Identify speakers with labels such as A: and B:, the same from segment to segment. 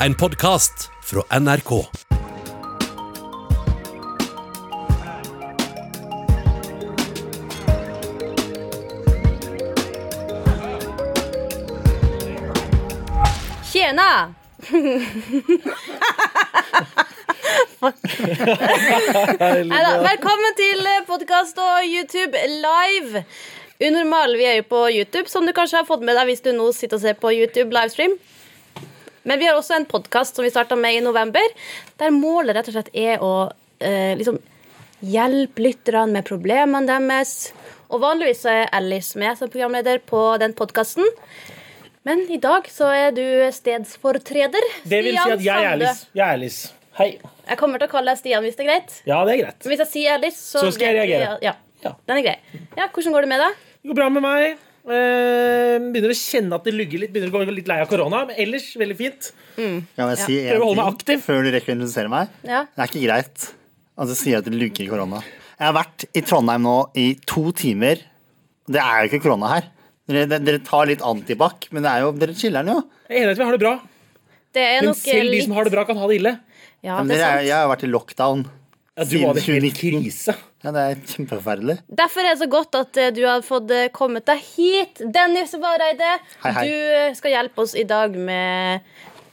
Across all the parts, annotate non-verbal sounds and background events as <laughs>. A: En podkast fra NRK.
B: Tjena! Neida, velkommen til podkast og YouTube live. Unormal, vi er jo på YouTube, som du kanskje har fått med deg hvis du nå sitter og ser på YouTube livestream. Men vi har også en podkast som vi starta med i november, der målet rett og slett er å eh, liksom hjelpe lytterne med problemene deres. Og vanligvis så er Alice med som programleder på den podkasten. Men i dag så er du stedsfortreder.
C: Det vil si
B: Stian
C: at jeg er
B: Sande.
C: Alice. Jeg er Alice. Hei.
B: Jeg kommer til å kalle deg Stian hvis det er greit.
C: Ja, det er greit.
B: Men hvis jeg sier Alice, så,
C: Så skal jeg
B: vet vi-
C: reagere.
B: Ja,
C: Ja.
B: den er grei. Ja, Hvordan går det med deg?
C: Det går bra med meg. Eh, begynner å kjenne at det lugger litt. Begynner å gå litt lei av korona. Men ellers veldig fint.
D: Kan jeg si
C: Prøv å holde meg
D: en ting
C: aktiv.
D: før du rekker å introdusere meg?
B: Ja.
D: Det er ikke greit at du sier at det lugger i korona. Jeg har vært i Trondheim nå i to timer. Det er jo ikke korona her. Dere, dere tar litt antibac, men det er jo, dere chiller'n jo.
C: Jeg er enig i at vi har det bra.
B: Det er
C: Men
B: nok eh,
C: selv de
B: litt...
C: som har det bra, kan ha det ille.
B: Ja,
D: Men
B: det er
D: dere er,
B: sant.
D: jeg har vært i lockdown.
C: Ja, du var det
D: Siden
C: helt
D: 2019.
C: krise.
D: Ja, det er kjempeforferdelig.
B: Derfor er det så godt at eh, du har fått eh, kommet deg hit. Dennis Vareide,
D: Hei, hei.
B: du eh, skal hjelpe oss i dag med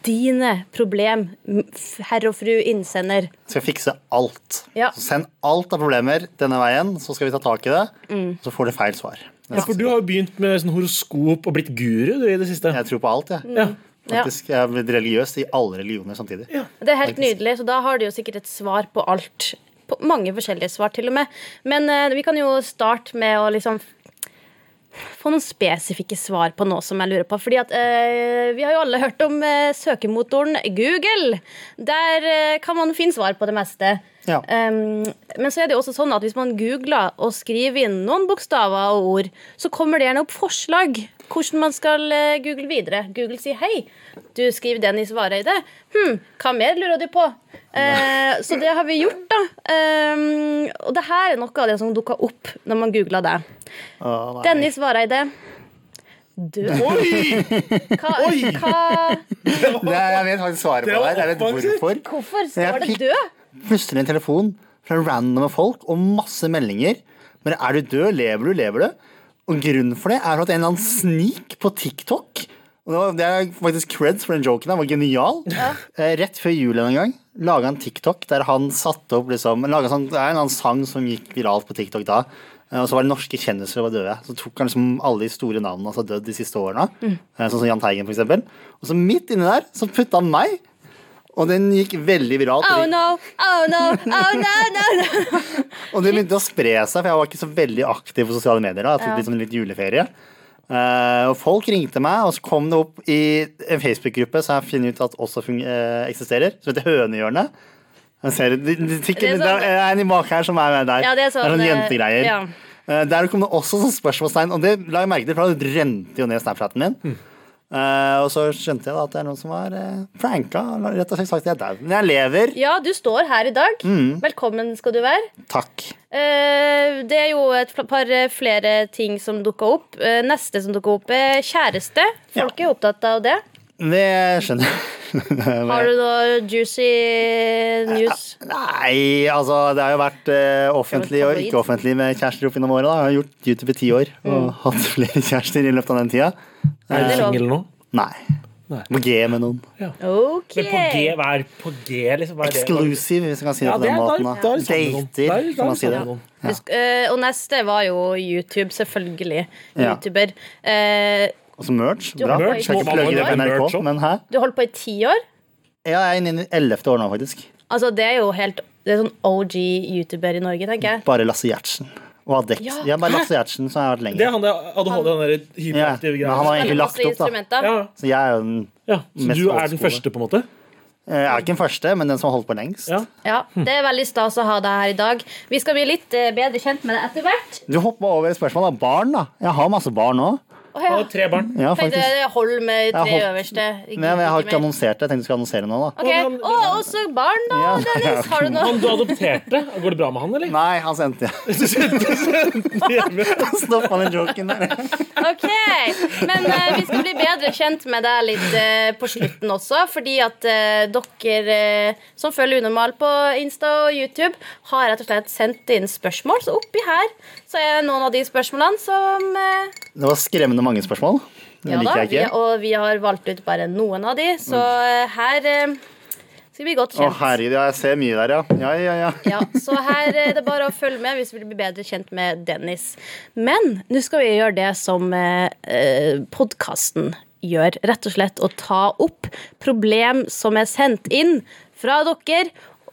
B: dine problem, m- f- herr og fru innsender.
D: Skal jeg fikse alt.
B: Ja.
D: Så send alt av problemer denne veien, så skal vi ta tak i det.
C: Mm.
D: Så får du feil svar.
C: Ja, for du har jo begynt med sånn horoskop og blitt guru du, i det siste.
D: Jeg tror på alt, jeg.
C: Ja.
B: Ja.
D: Faktisk, jeg har blitt religiøs i alle religioner samtidig.
B: Det er helt
D: Faktisk.
B: nydelig, så da har du jo sikkert et svar på alt. På mange forskjellige svar, til og med. Men eh, vi kan jo starte med å liksom få noen spesifikke svar på noe som jeg lurer på. Fordi at eh, vi har jo alle hørt om eh, søkemotoren Google. Der eh, kan man finne svar på det meste.
D: Ja.
B: Um, men så er det jo også sånn at hvis man googler og skriver inn noen bokstaver og ord, så kommer det gjerne opp forslag hvordan man skal eh, google videre. Google sier 'hei, du skriver Dennis Vareide'. Hm, hva mer lurer du på? Eh, så det har vi gjort, da. Um, og det her er noe av det som dukka opp når man googla det.
D: Å, nei.
B: Dennis Vareide. Død.
C: Oi!
B: Hva, hva,
D: Det er, jeg vet faktisk svaret
C: Det
D: på det.
C: var
D: her. Jeg vet
C: offensivt.
D: hvorfor.
B: hvorfor
D: Men jeg
B: står det
D: fikk-
B: død?
D: Plutselig en telefon fra randomme folk og masse meldinger. Men er du død? Lever du? Lever du? Og grunnen for det er at en eller annen snik på TikTok og det var- Det er faktisk creds for den joken. Den var genial. Eh, Rett før jul en gang laga han TikTok der han satte opp liksom, laget sånn, Det er en eller annen sang som gikk viralt på TikTok da. eh, Og så var det norske kjendiser som var døde. Så tok han liksom alle de store navnene som har dødd de siste årene. eh, Sånn som Jahn Teigen, for eksempel. Og så midt inni der så putta han meg. Og den gikk veldig viralt.
B: Oh no, oh no, oh no, no, no.
D: Og det begynte å spre seg, for jeg var ikke så veldig aktiv på sosiale medier. da, Jeg tok
B: Ja.
D: litt, sånn litt juleferie. Eh, og folk ringte meg, og så kom det opp i en Facebook-gruppe som jeg finner ut at også fung eh, eksisterer, som heter Hønehjørnet. Jeg ser, det, det, det,
B: Det er
D: det,
B: sånn-
D: er en i bak her som er med der.
B: Ja, det er sånn, eh,
D: jentegreier.
B: ja.
D: Eh, der kom det også sånn spørsmålstegn, og det la jeg merke til, for det rente jo ned Snapchaten min. Eh, og så skjønte jeg da at det er noen som var eh, pranka. og Rett og slett sagt at jeg er daud. Men jeg lever.
B: Ja, du står her i dag. Velkommen skal du være.
D: Takk.
B: Eh, Det er jo et fl- par eh, flere ting som dukka opp. Eh, Neste som dukka opp, er kjæreste. Folk er opptatt av det.
D: Det skjønner jeg. <laughs>
B: Har du noe juicy news?
D: Nei, altså det har jo vært eh, offentlig
B: Det har
D: og
B: vært
D: ikke offentlig med kjærester opp gjennom året. da. Jeg har gjort YouTube i ti år og
B: Mm.
D: <laughs> hatt flere kjærester i løpet av den tida.
C: Er du
B: det lov?
C: singel nå?
D: Nei.
C: Nei.
D: På G med noen.
B: OK.
C: Men på G, hva er på G? liksom? Hva er det?
D: Exclusive, hvis man kan si det
C: Ja,
D: på
C: det
D: den
C: er
D: måten.
C: da, da
D: da.
C: er det sammen med noen. Da er det- sånn.
D: Dater,
C: da er
D: kan man
C: det
D: si det.
C: sammen med noen.
B: Husk, eh, Og neste var jo YouTube, selvfølgelig.
D: Ja.
B: YouTuber. Eh,
D: Og så merch.
B: Du
D: Bra.
B: har
D: Skal
C: merch.
D: ikke plugge det på
C: Merch
D: NRK,
C: også.
D: men hæ?
B: Du holdt på i ti år.
D: Ja, jeg er inne i ellevte år nå, faktisk.
B: Altså, det er jo helt Det er sånn OG YouTuber i Norge, tenker jeg.
D: Bare Lasse Gjertsen. Og Adex.
B: Ja.
D: Ja, bare Lasse Gjertsen som har vært
C: Det er
D: lenger.
C: han der ADHD, han der
D: Ja,
C: hyperaktive
D: men han har
C: greia.
D: egentlig lagt
B: Masse
D: opp, da.
B: instrumenter.
C: Ja,
D: Så jeg er jo den
C: ja. Så
D: Mest
C: du er
D: old
C: den
D: school.
C: første, på en måte?
D: Jeg er ikke den første, men den som har holdt på lengst.
C: Ja.
B: Ja, Det er veldig stas å ha deg her i dag. Vi skal bli litt eh, bedre kjent med deg etter hvert.
D: Du hoppa over et spørsmål om barn, da. Jeg har masse barn òg.
B: Å, ja.
C: Og tre barn.
D: Ja,
B: Tenkte
D: faktisk.
B: jeg hold med
D: Jeg
B: eh, tre
D: holdt-
B: øverste.
D: Nei, men jeg har ikke
B: mer.
D: annonsert det. Jeg tenkte du skulle annonsere nå, da.
B: <laughs> Ok, Og også barn, da.
D: <laughs> Ja.
B: Dennis. Har du noe?
C: Han du adopterte. Går det bra med han,
D: <laughs>
C: eller?
D: Nei, han sendte jeg. Stoppa den joken der.
B: Ok, Men eh, vi skal bli bedre kjent med deg litt eh, på slutten også. Fordi at eh, dere eh, som følger Unormal på Insta og YouTube, har rett og slett sendt inn spørsmål. Så oppi her så er noen av de spørsmålene som eh,
D: Det var skremmende mange spørsmål. Det
B: Ja da,
D: liker jeg
B: vi,
D: ikke. Mm.
B: og vi har valgt ut bare noen av de, så eh, her eh, skal vi bli godt
D: Å
B: kjent.
D: herregud, ja, jeg ser mye der, ja. Ja, ja, ja.
B: Ja, så her eh, det er bare å følge med hvis du vil bli bedre kjent med Dennis. Men nå skal vi gjøre det som eh, podkasten gjør, rett og slett å ta opp problem som er sendt inn fra dere,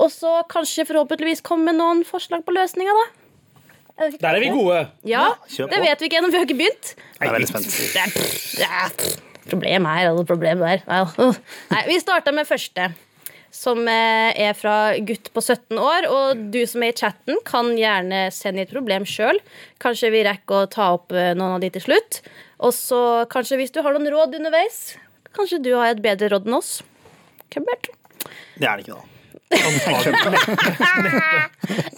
B: og så kanskje forhåpentligvis komme med noen forslag på løsninger, da. det ikke-
C: Der er vi gode.
B: Ja,
D: kjør
B: det
D: på.
B: vet vi ikke ennå, vi har ikke begynt.
D: Jeg er veldig spent.
B: Det er, det er problem her og problem der. Nei, da. Nei, vi starta med første, som eh, er fra gutt på 17 år. Og du som er i chatten, kan gjerne sende et problem sjøl. Kanskje vi rekker å ta opp eh, noen av de til slutt. Og så kanskje hvis du har noen råd underveis, kanskje du har et bedre råd enn oss. Kumbert.
D: Det er det ikke, da.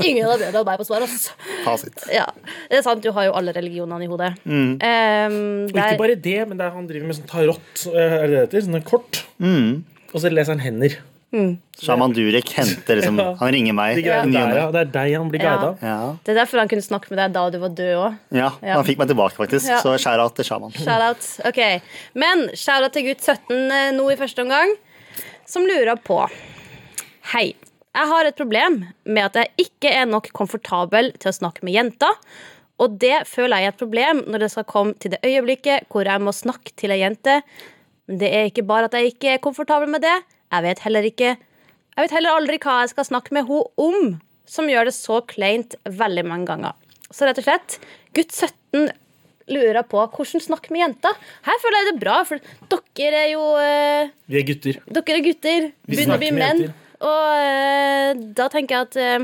B: Ingen av dere har meg på svar, altså.
D: Fasit.
B: Ja, det er sant, du har jo alle religionene i hodet. Ehm,
C: Og
B: der-
C: ikke bare det, men det er han driver med sånn tarot, eh, er det det heter? Sånne kort.
D: Mm.
C: Og så leser han hender.
D: Shaman Durek henter liksom Han ringer meg.
C: De greiene
D: i ny
C: der,
D: og ne.
C: ja. Det er deg han blir
B: Ja.
C: guida av.
D: Ja.
B: det er derfor han kunne snakke med deg da du var død òg.
D: ja,
B: Ja.
D: han fikk meg tilbake, faktisk.
B: Ja.
D: Så skjæra til Shaman.
B: Shoutout. Ok. Men shoutout til gutt 17 nå i første omgang, som lurer på Hei. Jeg har et problem med at jeg ikke er nok komfortabel til å snakke med jenter. Og det føler jeg er et problem når det skal komme til det øyeblikket hvor jeg må snakke til ei jente. Men det er ikke bare at jeg ikke er komfortabel med det. Jeg vet heller ikke Jeg vet heller aldri hva jeg skal snakke med henne om, som gjør det så kleint veldig mange ganger. Så rett og slett, gutt 17 lurer på hvordan snakke med jenter. Her føler jeg det er bra, for dere er jo eh,
C: Vi er gutter.
B: Dere er gutter, begynner å bli
C: snakker med
B: menn.
C: jenter.
B: Og eh, da tenker jeg at eh,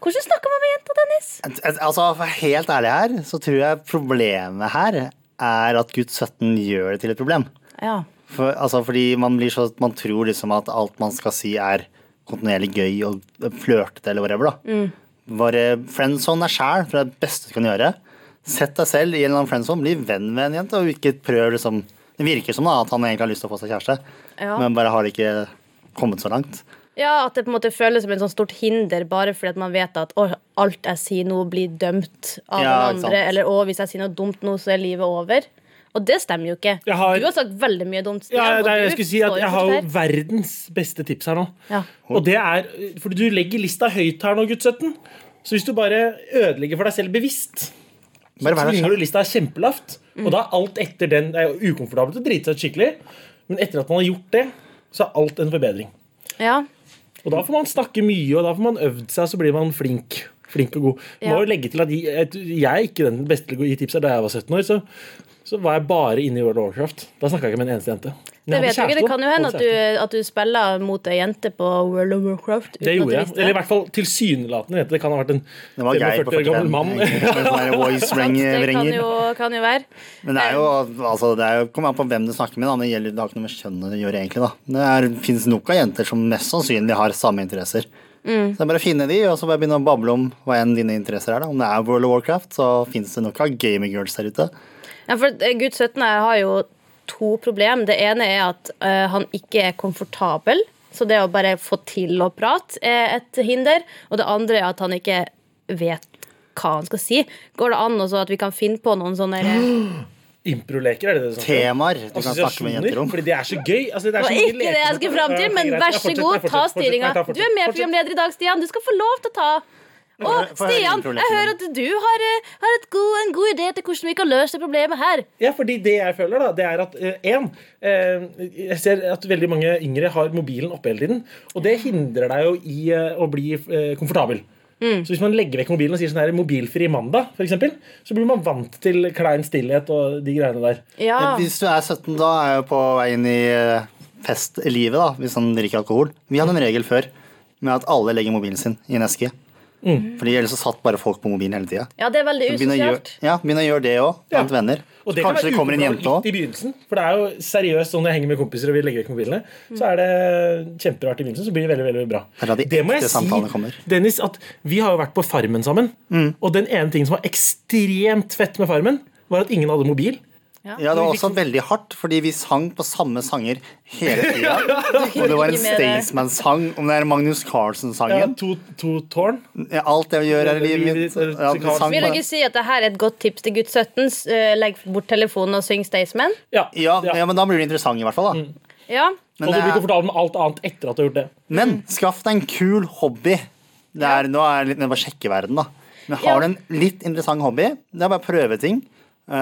B: Hvordan snakker man med jenter, Dennis?
D: Et- et- Altså, for å være helt ærlig her, så tror jeg problemet her er at gutt 17 gjør det til et problem.
B: Ja.
D: For, altså, fordi man, blir så, man tror liksom at alt man skal si er kontinuerlig gøy og flørtete eller whatever. Da.
B: Mm.
D: Bare friendzone deg sjæl, for det er det beste du kan gjøre. Sett deg selv i en eller annen friendzone, bli venn med en jente, og ikke prøv liksom Det virker som da, at han egentlig har lyst til å få seg kjæreste,
B: Ja.
D: men bare har det ikke kommet så langt.
B: ja, At det på en måte føles som et sånt stort hinder bare fordi at man vet at å, alt jeg sier nå, blir dømt av
D: Ja,
B: noen
D: ikke
B: andre.
D: sant.
B: Eller å, hvis jeg sier noe dumt nå, så er livet over. Og det stemmer jo ikke.
C: Jeg har-
B: Du har sagt veldig mye dumt. Stian,
C: Ja,
B: og
C: det er,
B: du
C: jeg skulle si at
B: står jo
C: jeg har jo
B: fortsatt her.
C: verdens beste tips her nå.
B: Ja.
C: Og det er, for Du legger lista høyt her nå, gutt 17. Så hvis du bare ødelegger for deg selv bevisst, så
D: Bare vær deg
C: tvinger
D: selv.
C: du lista kjempelavt. Og da er alt etter den Det er jo ukomfortabelt å drite seg ut skikkelig, men etter at man har gjort det, så er alt en forbedring.
B: Ja.
C: Og da får man snakke mye, og da får man øvd seg, og så blir man flink. Flink og god. Må
B: Ja.
C: jo legge til at jeg, at jeg er ikke den beste til å gi tips her da jeg var 17 år. Så, så var jeg bare inne i World of Warcraft. Da snakka jeg ikke med en eneste jente. Men
B: Det vet
C: jeg
B: jeg
C: hadde
B: ikke, det
C: kjæreste
B: kan jo
C: da,
B: hende
C: og
B: at
C: kjæreste.
B: du, at du spiller mot ei jente på World of Warcraft. uten
C: Det
B: at du
C: gjorde jeg.
B: visste
C: Eller i hvert fall tilsynelatende. jente. Det kan ha vært en
D: Det var Geir
C: 45
D: på
C: år
D: 45.
C: gammel mann.
D: Med
B: <laughs>
D: sånne voice ring-
B: Det kan
D: ringer.
B: jo, kan jo være.
D: Men det er jo, altså, det er jo kommer an på hvem du snakker med. Da. Det gjelder det har ikke noe med kjønnet å gjøre, egentlig. Da. Det er, finnes nok av jenter som mest sannsynlig har samme interesser.
B: Mm.
D: Så det er bare å finne de, og så bare begynne å bable om hva enn dine interesser er. Da. Om det er World of Warcraft, så finnes det nok av gamergirls der ute.
B: Ja, for eh, gutt 17 her har jo to problem. Det ene er at eh, han ikke er komfortabel. Så det å bare få til å prate er et hinder. Og det andre er at han ikke vet hva han skal si. Går det an også at vi kan finne på noen sånne Det
C: Improleker, er det det du snakker om?
D: Temaer du kan snakke med jenter om.
C: Fordi det er så gøy. Altså, det, er
B: var
C: så mye
B: ikke det jeg
C: lekent.
B: skulle fram til, men
C: Ja, greit.
B: vær
C: Ja,
B: så
C: fortsett,
B: god,
C: nei,
B: ta
C: fortsett, fortsett.
B: stillinga.
C: Nei, ta
B: Du
C: fortsett.
B: er med
C: Fortsett.
B: programleder i dag, Stian. Du skal få lov til å ta. Å,
D: Få høre
B: Stian,
D: introen,
B: jeg hører
D: Lene.
B: at du har, eh, har et god, en god idé til hvordan vi kan løse det problemet her.
C: Ja, fordi det jeg føler, da, det er at én Jeg ser at veldig mange yngre har mobilen oppe hele tiden. Og det hindrer deg jo i eh, å bli eh, komfortabel.
B: Mm.
C: Så hvis man legger vekk mobilen og sier sånn her mobilfri mandag, for eksempel, så blir man vant til klein stillhet og de greiene der.
B: Ja,
D: Men Hvis du er 17, da er jeg jo på vei inn i eh, festlivet, da, hvis han drikker alkohol. Vi hadde en regel før med at alle legger mobilen sin i en eske.
C: Mm.
D: Fordi ellers så satt bare folk på mobilen hele tida.
B: Ja, det er veldig
D: Begynn å
B: usosialt.
D: gjøre- ja, begynn å gjøre det òg, blant
C: Ja.
D: venner.
C: Og det
D: Kanskje
C: kan være
D: det kommer en
C: ukomfortabelt
D: jente òg.
C: litt i begynnelsen. For det er jo seriøst sånn når jeg henger med kompiser og vi legger vekk mobilene, så er det kjemperart i begynnelsen, så blir det veldig, veldig bra.
D: Det er da de ekte samtalene kommer. Mm.
C: Dennis, at vi har jo vært på Farmen sammen, og den ene tingen som var ekstremt fett med Farmen, var at ingen hadde mobil.
D: Ja, det var også veldig hardt, fordi vi sang på samme sanger <laughs> hele tida. Og det var en
B: Ikke mer det.
D: Staysman-sang, om det er Magnus
C: Ja,
D: Carlsen-sangen.
C: to, to tårn.
D: Ja, Alt det vi gjør her i livet mitt. Ja, vi sang
B: Vil
D: på
B: dere
D: det.
B: si at dette er et godt tips til gutt 17? S- eh, Legg bort telefonen og syng Staysman?
C: Ja.
D: Ja, Mm.
C: ja.
D: ja, men da blir det interessant, i hvert fall. da
B: Ja.
D: Men eh,
C: og du
D: det
C: blir
D: er-
C: komfortabel med alt annet etter at du har gjort det.
D: Men skaff deg en kul hobby. Det er, nå er det litt mer bare sjekkeverden, da. Men
B: Ja.
D: har du en litt interessant hobby, det er bare å prøve ting. Eh,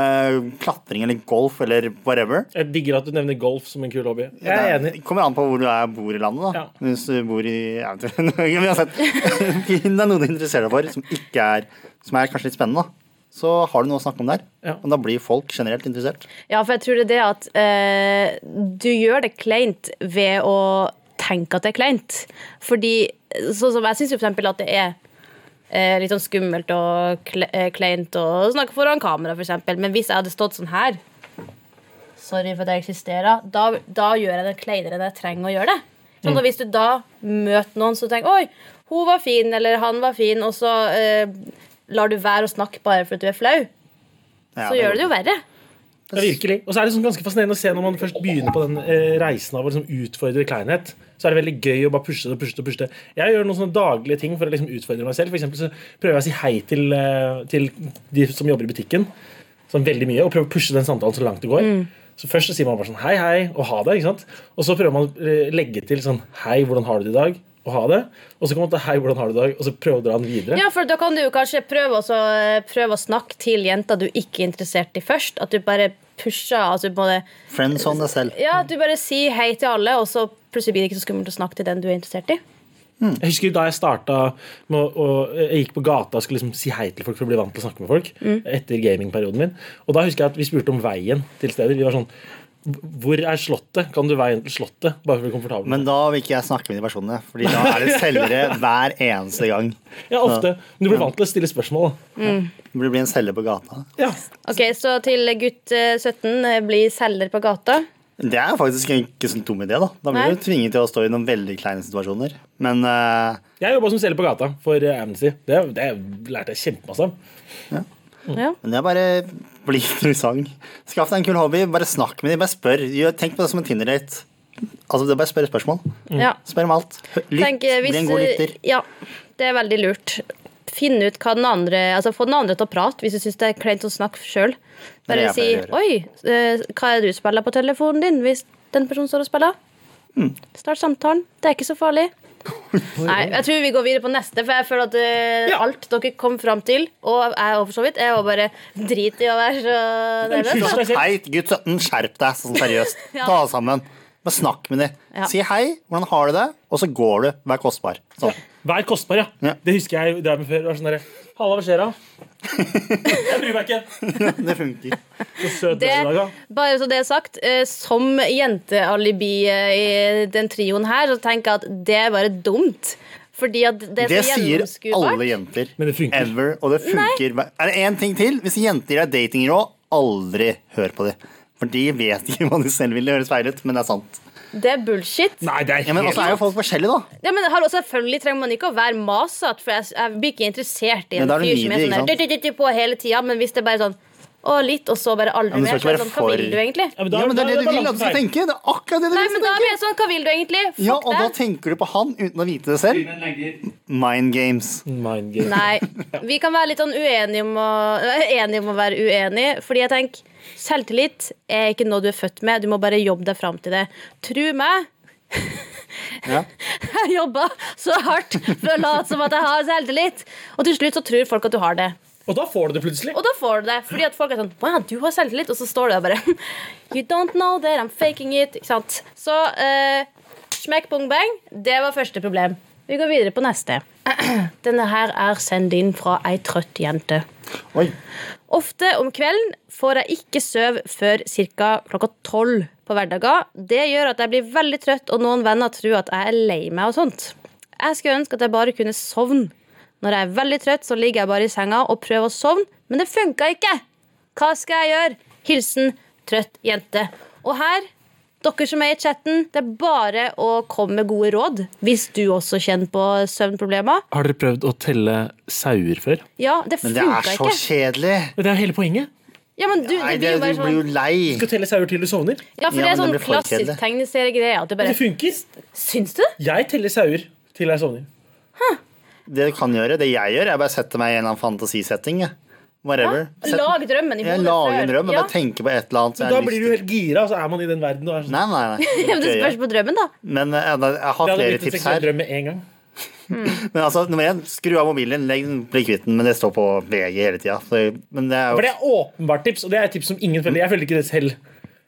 D: klatring eller golf eller whatever.
C: Jeg digger at du nevner golf som en kul hobby. Jeg er
D: Det
C: enig.
D: kommer an på hvor du er, bor i landet, da.
C: Ja.
D: Hvis du bor i jeg vet ikke, <laughs> Norge, men uansett. Finn deg noe du interesserer deg for, som, ikke er, som er kanskje litt spennende. da. Så har du noe å snakke om der.
C: Ja.
D: Og da blir folk generelt interessert.
B: ja, for jeg tror det er det at eh, du gjør det kleint ved å tenke at det er kleint. Fordi eh, sånn som jeg syns f.eks. at det er eh, litt sånn skummelt og kle eh, kleint å snakke foran kamera, f.eks. Men hvis jeg hadde stått sånn her Sorry for at jeg eksisterer. Da, da gjør jeg det kleinere enn jeg trenger å gjøre det. Sånn, og Hvis du da møter noen som tenker Oi, hun var fin, eller han var fin, og så eh, lar du være å snakke bare fordi du er flau,
D: Ja,
B: så gjør det det jo verre.
C: Ja, virkelig. Og så er det sånn ganske fascinerende å se når man først begynner på den eh, reisen av å liksom utfordre kleinhet. Så er det veldig gøy å bare pushe det og pushe det. og pushe det. Jeg gjør noen sånne daglige ting for å liksom utfordre meg selv. For eksempel så prøver jeg å si hei til, eh, til de som jobber i butikken. Sånn veldig mye, Og prøver å pushe den samtalen så langt det går. Så Først så sier man bare sånn hei, hei, og ha det. ikke sant? Og så prøver man å eh, legge til sånn hei, hvordan har du det i dag? Og ha det. Og så kommer man til hei, hvordan har du det i dag? Og så prøve å dra den videre.
B: Ja, for da kan du jo kanskje prøve, også, eh, prøve å snakke til jenter du ikke er interessert i først. At du bare pusher. Altså både,
D: Friends on deg selv.
B: ja, at du bare sier hei til alle, og så plutselig blir det ikke så skummelt å snakke til den du er interessert i.
C: Jeg husker da jeg starta med å og Jeg gikk på gata og skulle liksom si hei til folk for å bli vant til å snakke med folk. Etter gamingperioden min. Og da husker jeg at vi spurte om veien til steder. Vi var sånn Hvor er Slottet? Kan du veien til Slottet? Bare for å bli komfortabel.
D: Men da vil ikke jeg snakke med de personene, Fordi da er det selgere hver eneste gang.
C: ja, ofte. Men du blir vant til å stille spørsmål, da.
D: Det blir en selger på gata.
C: Ja.
B: Ok, Så til gutt eh, 17 eh, bli selger på gata.
D: Det er faktisk ikke så dum idé, da. Da blir
B: Nei.
D: du tvinget til å stå i noen veldig kleine situasjoner. Men eh,
C: Jeg jobba som selger på gata for eh, Amnesty. Det, det lærte jeg kjempemasse av.
B: Ja.
D: men det er bare bli <laughs> interessant. Skaff deg en kul hobby, bare snakk med dem, bare spør. Gjør, tenk på det som en Tinder-date. Altså, det er bare spørre spørsmål.
B: Ja.
D: Spør om alt. Hø- Lytt.
B: Tenk, eh,
D: Bli en god lytter.
B: Ja, det er veldig lurt. Finn ut hva den andre Altså Få den andre til å prate hvis du syns det er kleint å snakke sjøl. Bare
D: Det er det
B: si
D: jeg pleier å gjøre.
B: 'oi, eh, hva er det du spiller på telefonen din?' hvis den personen står og spiller.
D: Mm.
B: Start samtalen. Det er ikke så
D: <laughs>
B: farlig. Nei, jeg tror vi går videre på neste, for jeg føler at eh,
C: Ja.
B: alt dere kom fram til, og jeg òg for så vidt, er å bare drite i å være så nervøs. da.
C: Unnskyld.
D: Hei, gutt 17, skjerp deg, sånn
B: <laughs>
D: seriøst. Ta deg sammen. Bare snakk med dem.
B: Ja.
D: Si hei, hvordan har du det? Og så går du. Vær kostbar. Sånn.
C: Vær kostbar, ja.
D: Ja.
C: Det husker jeg drev med før. Det var sånn derre Halla, hva skjer
D: <laughs>
C: da? Jeg bryr meg ikke.
D: Det funker.
C: Så søt du
B: Det,
C: er i dag, da.
B: bare så det er sagt, eh, som jentealibi eh, i den trioen her, så tenker jeg at det er bare dumt. Fordi at <laughs> det er
D: Det
B: så
D: sier alle
B: gjennomskuebart.
D: jenter.
C: Men det funker.
D: Ever, og det funker. Er det én ting til? Hvis jenter gir deg datingråd, aldri hør på dem. For de vet ikke <laughs> hva de selv vil. Det høres feil ut, men det er sant.
B: Det er bullshit.
C: Nei, det er
D: Ja, men også er jo folk forskjellige, da.
B: Ja, men hallo, selvfølgelig trenger man ikke å være masete, for jeg, jeg blir ikke interessert i
D: Men
B: en
D: da er
B: fyr som
D: du
B: er
D: lydig,
B: sånn
D: ikke
B: der, dytt, dytt, dytt på hele tida, men hvis det er bare sånn å, litt, og så bare aldri
D: Ja, men du
B: mer.
D: skal
B: så er
D: ikke
B: det Sånn,
D: være
B: hva vil
D: for-
B: du egentlig?
C: Ja, men da-
D: Ja, men Det
C: da-
D: er det
C: da
D: du vil at du skal
C: balansen feil.
D: tenke. Det er akkurat det du
B: Nei,
D: vil
B: men da
D: skal
B: blir
D: tenke.
B: jeg sånn, hva vil du egentlig? Fuck
D: Ja, og da
B: deg.
D: tenker du på han uten å vite det selv. Mind games.
C: Mind game.
B: Nei. Vi kan være litt sånn uenige om å, eh, enige om å være uenige. Fordi jeg tenker selvtillit er ikke noe du er født med. Du må bare jobbe deg fram til det. Tro meg. <laughs>
D: Ja.
B: Jeg jobba så hardt for å late som at jeg har selvtillit. Og til slutt så tror folk at du har det.
C: Og da får du det plutselig.
B: Og da får du det. Fordi at folk er sånn Wow, du har selvtillit. Og så står du der bare You don't know that I'm faking it. Ikke sant. Så eh, smekk bong bang. Det var første problem. Vi går videre på neste. <clears throat> Denne her er sendt inn fra ei trøtt jente.
D: Oi.
B: Ofte om kvelden får jeg ikke søv før ca. klokka tolv på hverdager. Det gjør at jeg blir veldig trøtt, og noen venner tror at jeg er lei meg og sånt. Jeg skulle ønske at jeg bare kunne sovne Når jeg er veldig trøtt, så ligger jeg bare i senga og prøver å sovne, men det funka ikke. Hva skal jeg gjøre? Hilsen trøtt jente. Og her, dere som er i chatten, det er bare å komme med gode råd hvis du også kjenner på søvnproblemer.
E: Har dere prøvd å telle sauer før?
B: Ja, det
D: Men det er
B: funka
D: så
B: ikke.
D: kjedelig.
C: Men det er jo hele poenget.
B: Ja, men du,
D: Nei,
B: det blir
D: det,
B: jo
D: du
B: bare
D: blir jo
B: sånn
D: lei.
C: Du skal telle sauer til du sovner.
B: Ja, for
D: Ja,
B: det er
D: men det
B: sånn
D: blir for
B: klassisk
D: kjedelig.
B: tegneseriegreie. At det
C: Det
B: bare
C: funker.
B: Syns du det?
C: Jeg teller sauer til jeg sovner.
D: Det du kan gjøre, det jeg gjør, er bare sette meg i en eller annen fantasisetting. jeg. Whatever. Sett-
B: Lag drømmen i
D: Jeg
B: hodet
D: lager en
B: før.
D: drøm, men
B: Ja.
D: bare tenker på et eller annet. som
C: Så
D: jeg
C: da
D: har
C: blir
D: lyst
C: du
D: til.
C: helt gira, og så er man i den verden. Og er sånn.
D: Nei, nei, nei.
B: Men <laughs> det
D: Det
B: spørs
D: gjør jeg.
B: på drømmen, da.
D: Men eh, jeg har
C: Det hadde
D: flere
C: blitt en
D: tips
C: seksuell
D: her.
C: drøm med en gang.
D: Men altså, nummer én, skru av mobilen din, legg den, bli kvitt den. Men det står på VG hele tida. Men det er
C: For
D: jo
C: det er åpenbart tips, og det er et tips som ingen følger. Jeg følger ikke det selv.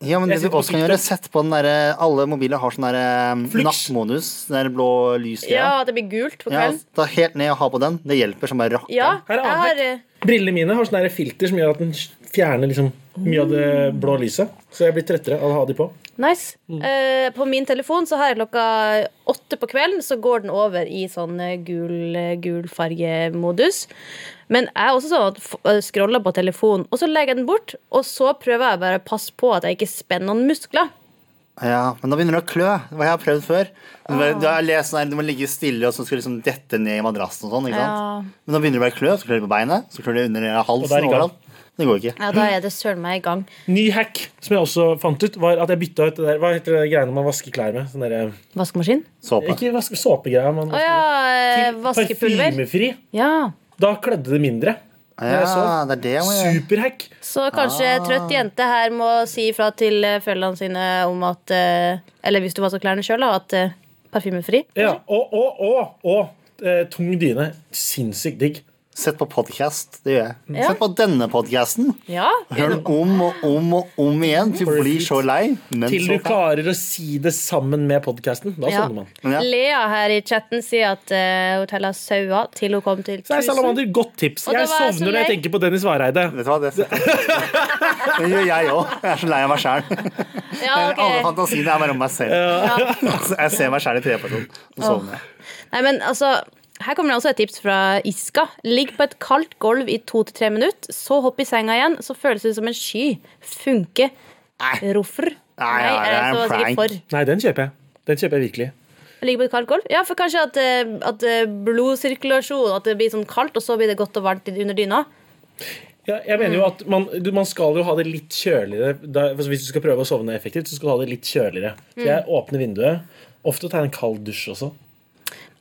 D: Ja, men
C: Jeg
D: det du
C: sitter på
D: også kan
C: TikTok.
D: gjøre, sett på den derre Alle mobiler har sånn derre
C: Flux.
D: nattmodus, den der blå
B: Ja,
D: lysgreia.
B: at det blir gult på
D: Ja,
B: kvelden.
D: ta helt ned og ha på den. Det hjelper som bare rakker.
B: Ja,
C: Her er
B: jeg har
C: avbrekk. Brillene mine har sånne der filter som gjør at den fjerner liksom mye av det blå lyset. Så jeg blir trettere av å ha de på.
B: eh, Nice. Eh, på min telefon så har jeg klokka åtte på kvelden, så går den over i sånn eh, gul, eh, gul fargemodus. Men jeg er også sånn at f- eh, scroller på telefonen, og så legger jeg den bort. Og så prøver jeg bare å passe på at jeg ikke spenner noen muskler.
D: Ja, men da begynner det å klø. Hva jeg har prøvd før. Du,
B: Ah.
D: bare- du, har lest sånn her, du må ligge stille, og så skal du liksom dette ned i madrassen og sånn. ikke sant?
B: Ja.
D: Men da begynner det å bare klø, så klør det på beinet, så klør det under
C: Og da er
D: halsen.
C: det i gang.
D: overalt. Det går ikke.
B: Ja, da er det søren meg i gang.
C: Ny hack som jeg også fant ut, var at jeg bytta ut det der Hva heter det greiene man vasker klær med? Sånn derre
B: Vaskemaskin?
D: Såpe.
C: Ikke vaske, såpegreier, man
B: Å ja, eh, vaskepulver.
C: Parfymefri.
B: Ja. Da
C: Da klødde det mindre. Når jeg
D: Ja,
C: sov.
D: det er det jeg må gjøre.
C: Superhack.
B: Så kanskje trøtt jente her må si ifra til eh, følgene sine om at eh, Eller hvis du vasker klærne sjøl, da, at eh, parfymefri.
C: Ja, og, og, og, og eh, tung dyne. Sinnssykt digg.
D: Sett på podkast. Det gjør jeg.
B: Ja.
D: Sett på denne podkasten.
B: Ja.
D: Hør den om og om og om igjen til du blir så lei. Men
C: Til
D: så
C: du klarer å si det sammen med podkasten. Da
B: Ja.
C: sovner man.
D: Ja.
B: Lea her i chatten sier at uh, hotellet har saua til hun kom til
C: Så er
B: 1000.
C: Salamander godt tips.
B: Og da
C: Jeg
B: var jeg så
C: sovner når jeg
B: lei.
C: tenker på Dennis Vareide.
D: Vet du hva, det setter jeg på. <laughs> Det gjør jeg òg. Jeg er så lei av meg sjæl.
B: Ja,
D: Alle
B: ok.
D: fantasiene er bare om meg selv. Altså, Jeg ser meg sjæl i treperson, og så sovner jeg.
B: Nei, men altså her kommer det også et tips fra Iska. Ligg på et kaldt gulv i to til tre minutter, så hopp i senga igjen, så føles det som en sky. Funke.
D: Nei.
B: Roffer.
D: Nei, ja,
B: jeg
D: det er en
B: så sikkert
D: prank.
B: for.
C: Nei, den kjøper jeg. Den kjøper jeg virkelig.
B: Ligge på et kaldt gulv? Ja, for kanskje at, eh, at eh, blodsirkulasjon At det blir sånn kaldt, og så blir det godt og varmt i- under dyna.
C: Ja, jeg mener jo
B: Mm.
C: at man, du, man skal jo ha det litt kjøligere. Da, altså hvis du skal prøve å sovne effektivt, så skal du ha det litt kjøligere.
B: Mm.
C: Så jeg åpner vinduet. Ofte tar jeg en kald dusj også.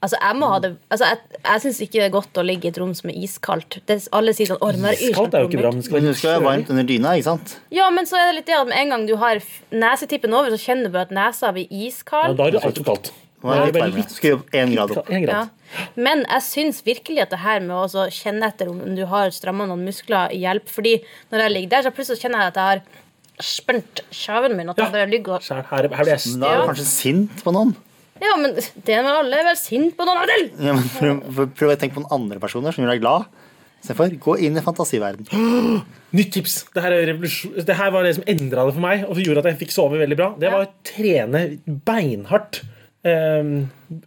B: Altså, Jeg må ha det Altså, jeg, jeg syns ikke det er godt å ligge i et rom som er iskaldt. Det, alle sier sånn, å, det må være
C: Iskaldt er jo ikke bra,
B: yrkesbombert».
C: men det skal være
D: Men du
C: litt
D: skal være varmt
C: kjølig.
D: under dyna, ikke sant?
B: Ja, men så er det litt det at med en gang du har f- nesetippen over, så kjenner du bare at nesa blir
C: Ja,
B: iskald.
C: da er det altfor kaldt.
D: Nå er det litt
C: bare
D: varmere. Skru opp én grad opp.
C: En grad.
B: Ja. Men jeg syns virkelig at det her med å også kjenne etter om du har stramma noen muskler, hjelper. Fordi når jeg ligger der, så plutselig kjenner jeg at jeg har spent kjeven min. At jeg
C: Ja.
B: bare ligger og
C: Så Her, her, her blir jeg
D: Men Da er du
C: støl.
D: kanskje sint på noen.
B: Ja, men det er når alle er vel sint på noen av dem!
D: Ja, men prøv, prøv å tenke på noen andre personer som gjør deg glad. Istedenfor, gå inn i fantasiverden.
C: Nytt tips. Det her, er revolusjon- det her var det som endra det for meg, og gjorde at jeg fikk sove veldig bra. Det var å trene beinhardt eh,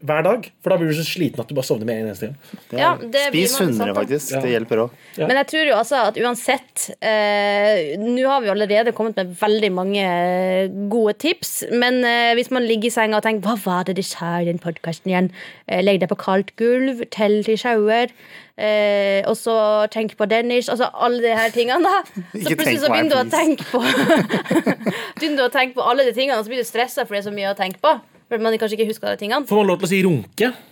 C: hver dag. For da blir du så sliten at du bare sovner med en eneste gang.
D: Det er-
B: Ja, det blir
D: Spis
B: man
D: sunnere,
B: besatt av.
D: faktisk.
C: Ja.
D: Det hjelper òg.
C: Ja.
B: Men jeg tror jo altså at uansett eh, Nå har vi allerede kommet med veldig mange eh, gode tips. Men eh, hvis man ligger i senga og tenker 'hva var det de sa i den podkasten igjen', eh, legg deg på kaldt gulv, tell til sjauer, eh, og så tenk på Dennis Altså alle de her tingene,
D: <laughs>
B: da. Så
D: Ikke
B: plutselig
D: tenk
B: så
D: på
B: begynner du å
D: meg,
B: tenke på <laughs> Begynner du å tenke på alle de tingene, og så blir du stressa for det er så mye å tenke på. For man kanskje ikke husker alle tingene.
C: Får man lov til å si runke?
D: sånn.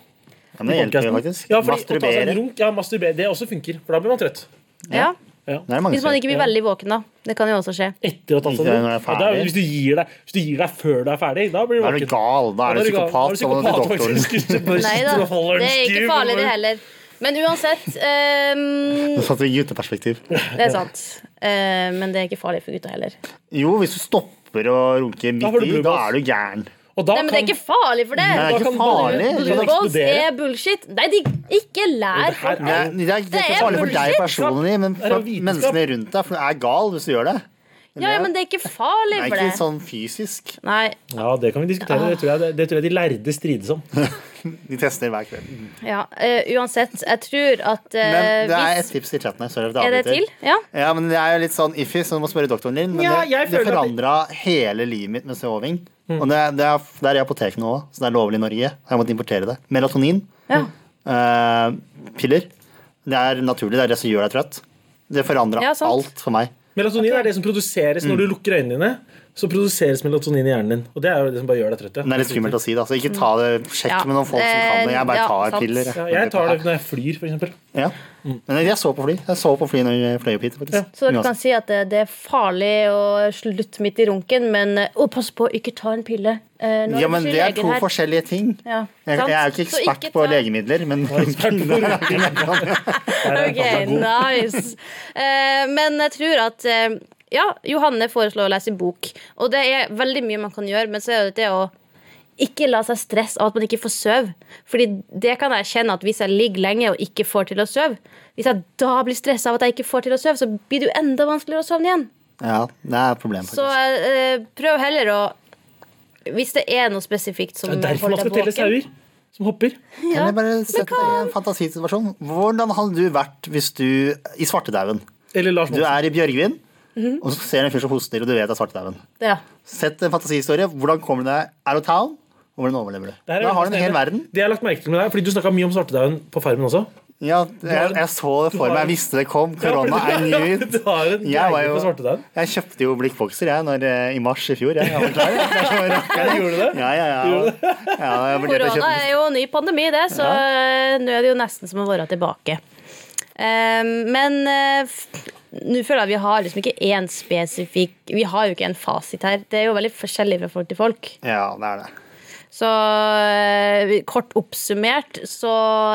D: Ja, men det hjelper jo
C: podcasten.
D: faktisk.
C: Ja, fordi, å ta seg en
D: Masturbere.
C: runk, ja, masturbere. Det også funker, for da blir man trøtt.
B: Ja.
C: Ja.
D: Det er mange
B: Hvis man
D: som
B: ikke blir veldig våken, da. Det kan jo også skje.
C: Etter å ha tatt seg
D: Ikke
C: en
D: når det
C: runk.
D: er
C: Ja, da er-
D: ferdig.
C: hvis, du gir deg, hvis du gir deg før du er ferdig, da blir du
D: Da er du gal. Da er du psykopat. Da må du til doktoren.
B: Nei da, det er ikke farlig det heller. Men uansett ehm,
D: Nå <laughs> satt vi i gutteperspektiv.
B: Det er sant. Eh, men det er ikke farlig for gutta heller.
D: Jo, hvis du stopper å runke
C: Da har
D: midt
C: du
D: i,
C: blue
D: da
C: balls.
D: er du gæren.
C: Og da
B: Nei, men det er ikke farlig for det!
D: Det er
C: da
D: ikke
C: kan
D: farlig.
C: bare-
D: Det
B: Blue
D: kan
B: balls
C: eksplodere.
B: er bullshit. Nei, de, ikke lær folk
D: Det er, det er
B: Det er
D: ikke farlig for deg
B: bullshit.
D: personlig, men
C: Det er
D: for
C: vitenskap.
D: menneskene rundt deg. For du er gal hvis du gjør det.
B: Ja, ja, men det er ikke farlig
D: Det er
B: for
D: ikke
B: det.
D: sånn fysisk.
B: Nei,
C: Ja, det kan vi diskutere. Det tror jeg, det, det tror jeg de lærde strides om.
D: De tester hver kveld.
B: Ja, eh, uansett, jeg tror at eh,
D: Men det er
B: hvis
D: et tips i chatten her. Sorry,
B: Er det til? Ja.
D: Ja, men det er jo litt sånn iffy, så du må spørre doktoren din. Men
C: Ja,
D: det,
C: jeg
D: det
C: føler at-
D: forandra hele livet mitt med soving. Og det, det er, det er i apotekene nå også, så det er lovlig i Norge. Jeg har måttet importere det. Melatonin.
B: ja.
D: eh, piller. Det er naturlig. Det er det som gjør deg trøtt. Det forandra
B: Ja, sant.
D: alt for meg.
C: Melatonin er det som produseres når
D: Mm.
C: du lukker øynene dine. Så produseres melatonin i hjernen din. Og det er jo det som bare gjør deg trøtt. ja.
D: Men det er litt skummelt å si det. Altså. Ikke ta det, sjekk
B: Ja, Eh,
D: med noen folk som kan det. Jeg bare
B: ja,
D: tar
B: sant.
D: piller.
C: Ja, jeg tar det når jeg flyr,
D: <laughs>
C: f.eks.
D: Ja. Men jeg så på fly. Jeg så på fly når jeg fløy opp hit. faktisk.
B: Så dere kan
D: Uansett.
B: si at det, det er farlig å slutte midt i runken, men eh, å, pass på, ikke ta en pille. eh, når
D: Ja, men
B: du
D: det er
B: leger
D: to
B: her.
D: forskjellige ting.
B: Ja,
D: Jeg,
B: sant?
D: jeg er jo ikke
B: Så
D: ekspert
B: ikke
D: på
B: ta-
D: legemidler, men
B: Ok, nice. Eh, men jeg tror at eh, Ja, Johanne foreslår å lese bok. Og det er veldig mye man kan gjøre, men så er det det å ikke la seg stresse av at man ikke får sove. Fordi det kan jeg kjenne at hvis jeg ligger lenge og ikke får til å sove, hvis jeg da blir stressa av at jeg ikke får til å sove, så blir det jo enda vanskeligere å sovne igjen.
D: <laughs> Ja, det er et problem.
B: Så
D: faktisk.
B: eh, prøv heller å Hvis det er noe spesifikt som
C: Det er derfor man
B: holder
C: skal
B: deg
C: telle
B: våken.
C: sauer som hopper.
D: Kan jeg bare sette deg i en fantasisituasjon? Hvordan hadde du vært hvis du I svartedauden.
C: Eller Lars
D: Du
C: Monsen.
D: er i Bjørgvin,
B: Mhm.
D: og så ser du en fyr som hoster, og du vet det er svartedauden.
B: Ja.
D: Sett en fantasihistorie. Hvordan kommer du deg out of town? Og hvordan overlever du?
C: Det er
D: Da har du en hel
C: spennende.
D: verden.
C: Det jeg har lagt merke til med deg, fordi Du snakka mye om svartedauden på Farmen også.
D: Ja, jeg, jeg så det
C: Du
D: for
C: har-
D: meg. Jeg visste det kom. Korona er nytt.
C: <laughs> Du har en
D: Jeg, var
C: greie på
D: jo,
C: svartedauden.
D: jeg kjøpte jo blikkbokser jeg, når, eh, i mars i fjor. Jeg, jeg var klar, jeg. Jeg var klar.
C: Gjorde du det?
D: Ja, ja, ja. ja jeg vurderte å
B: Korona
D: kjøpe
B: er jo en ny pandemi, det, så eh, nå er det jo nesten som å være tilbake. Ehm, men eh, f- nå føler jeg vi har liksom ikke én spesifikk Vi har jo ikke en fasit her. Det er jo veldig forskjellig fra folk til folk.
D: Ja, det er det.
B: Så eh, vi- kort oppsummert så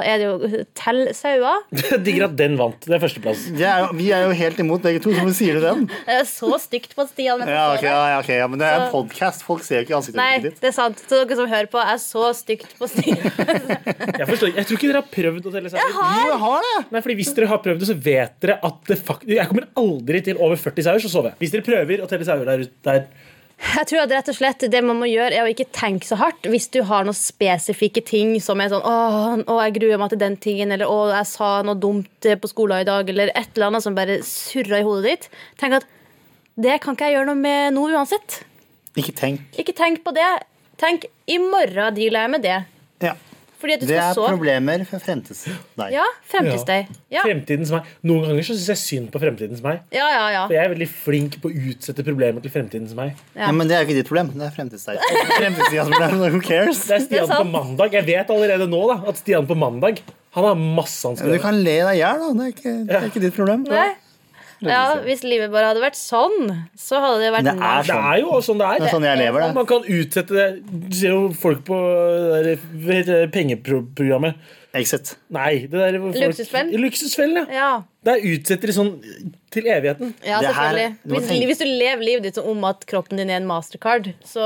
B: er det jo tell sauer.
C: Jeg digger at den vant. Det er førsteplass.
D: det er jo, vi er jo helt imot begge to, så hvorfor sier du den?
B: Det er så stygt på Stian. men jeg
D: Ja,
B: forstår
D: ok,
B: det.
D: ja, ja, ok, ja, men det er en podkast. Folk ser jo ikke
B: Nei,
D: ansiktet ditt.
B: det er sant. Så dere som hører på, er så stygt på Stian.
C: Jeg forstår ikke- Jeg tror ikke dere har prøvd å telle sauer.
D: Jo, jeg har det!
C: Nei, fordi Hvis dere har prøvd det, så vet dere at det faktisk Jeg kommer aldri til over 40 sauer, så sover jeg. Hvis dere prøver å telle sauer der ute der
B: Jeg tror at rett og slett Det man må gjøre, er å ikke tenke så hardt hvis du har noen spesifikke ting som er sånn Åh, å, jeg gruer meg til den tingen, eller å, jeg sa noe dumt på skolen i dag, eller et eller annet som bare surrer i hodet ditt. Tenk at det kan ikke jeg gjøre noe med nå uansett.
D: Ikke tenk.
B: Ikke tenk på det. Tenk i morgen dealer jeg med det.
D: Ja.
B: Fordi at du
D: Det
B: skal
D: er
B: sove.
D: problemer for fremtids... Nei.
B: Ja, fremtidsdøy. Ja.
C: Fremtidens meg. Noen ganger så syns jeg synd på fremtidens meg.
B: ja, ja, ja.
C: For jeg er veldig flink på å utsette problemer til fremtidens meg.
D: Ja, men det er jo ikke ditt problem. Det
B: <laughs>
D: er fremtidsdeg. Fremtidstidas problem, who cares?
C: Det er Stian
B: Det er sant.
C: på mandag. Jeg vet allerede nå da, at Stian på mandag Han har masse han skal
D: Du
C: gjøre.
D: kan le deg i hjel, da. Det er ikke, det er ikke ditt problem.
B: Nei. Ja, hvis livet bare hadde vært sånn, så hadde det vært
D: Det er
C: Det er jo sånn det er.
D: Det er sånn jeg lever, det.
C: Man kan utsette det. Du ser jo folk på det der pengeprogrammet.
D: Exit.
C: Nei, det der hvor folk-
B: Luksusfellen?
C: Luksusfellen, ja.
B: Ja.
C: Der utsetter de sånn til evigheten.
B: Ja,
D: Det her-
B: selvfølgelig.
D: du må
B: Hvis,
D: tenke-
B: hvis du lever livet ditt som om at kroppen din er en mastercard, så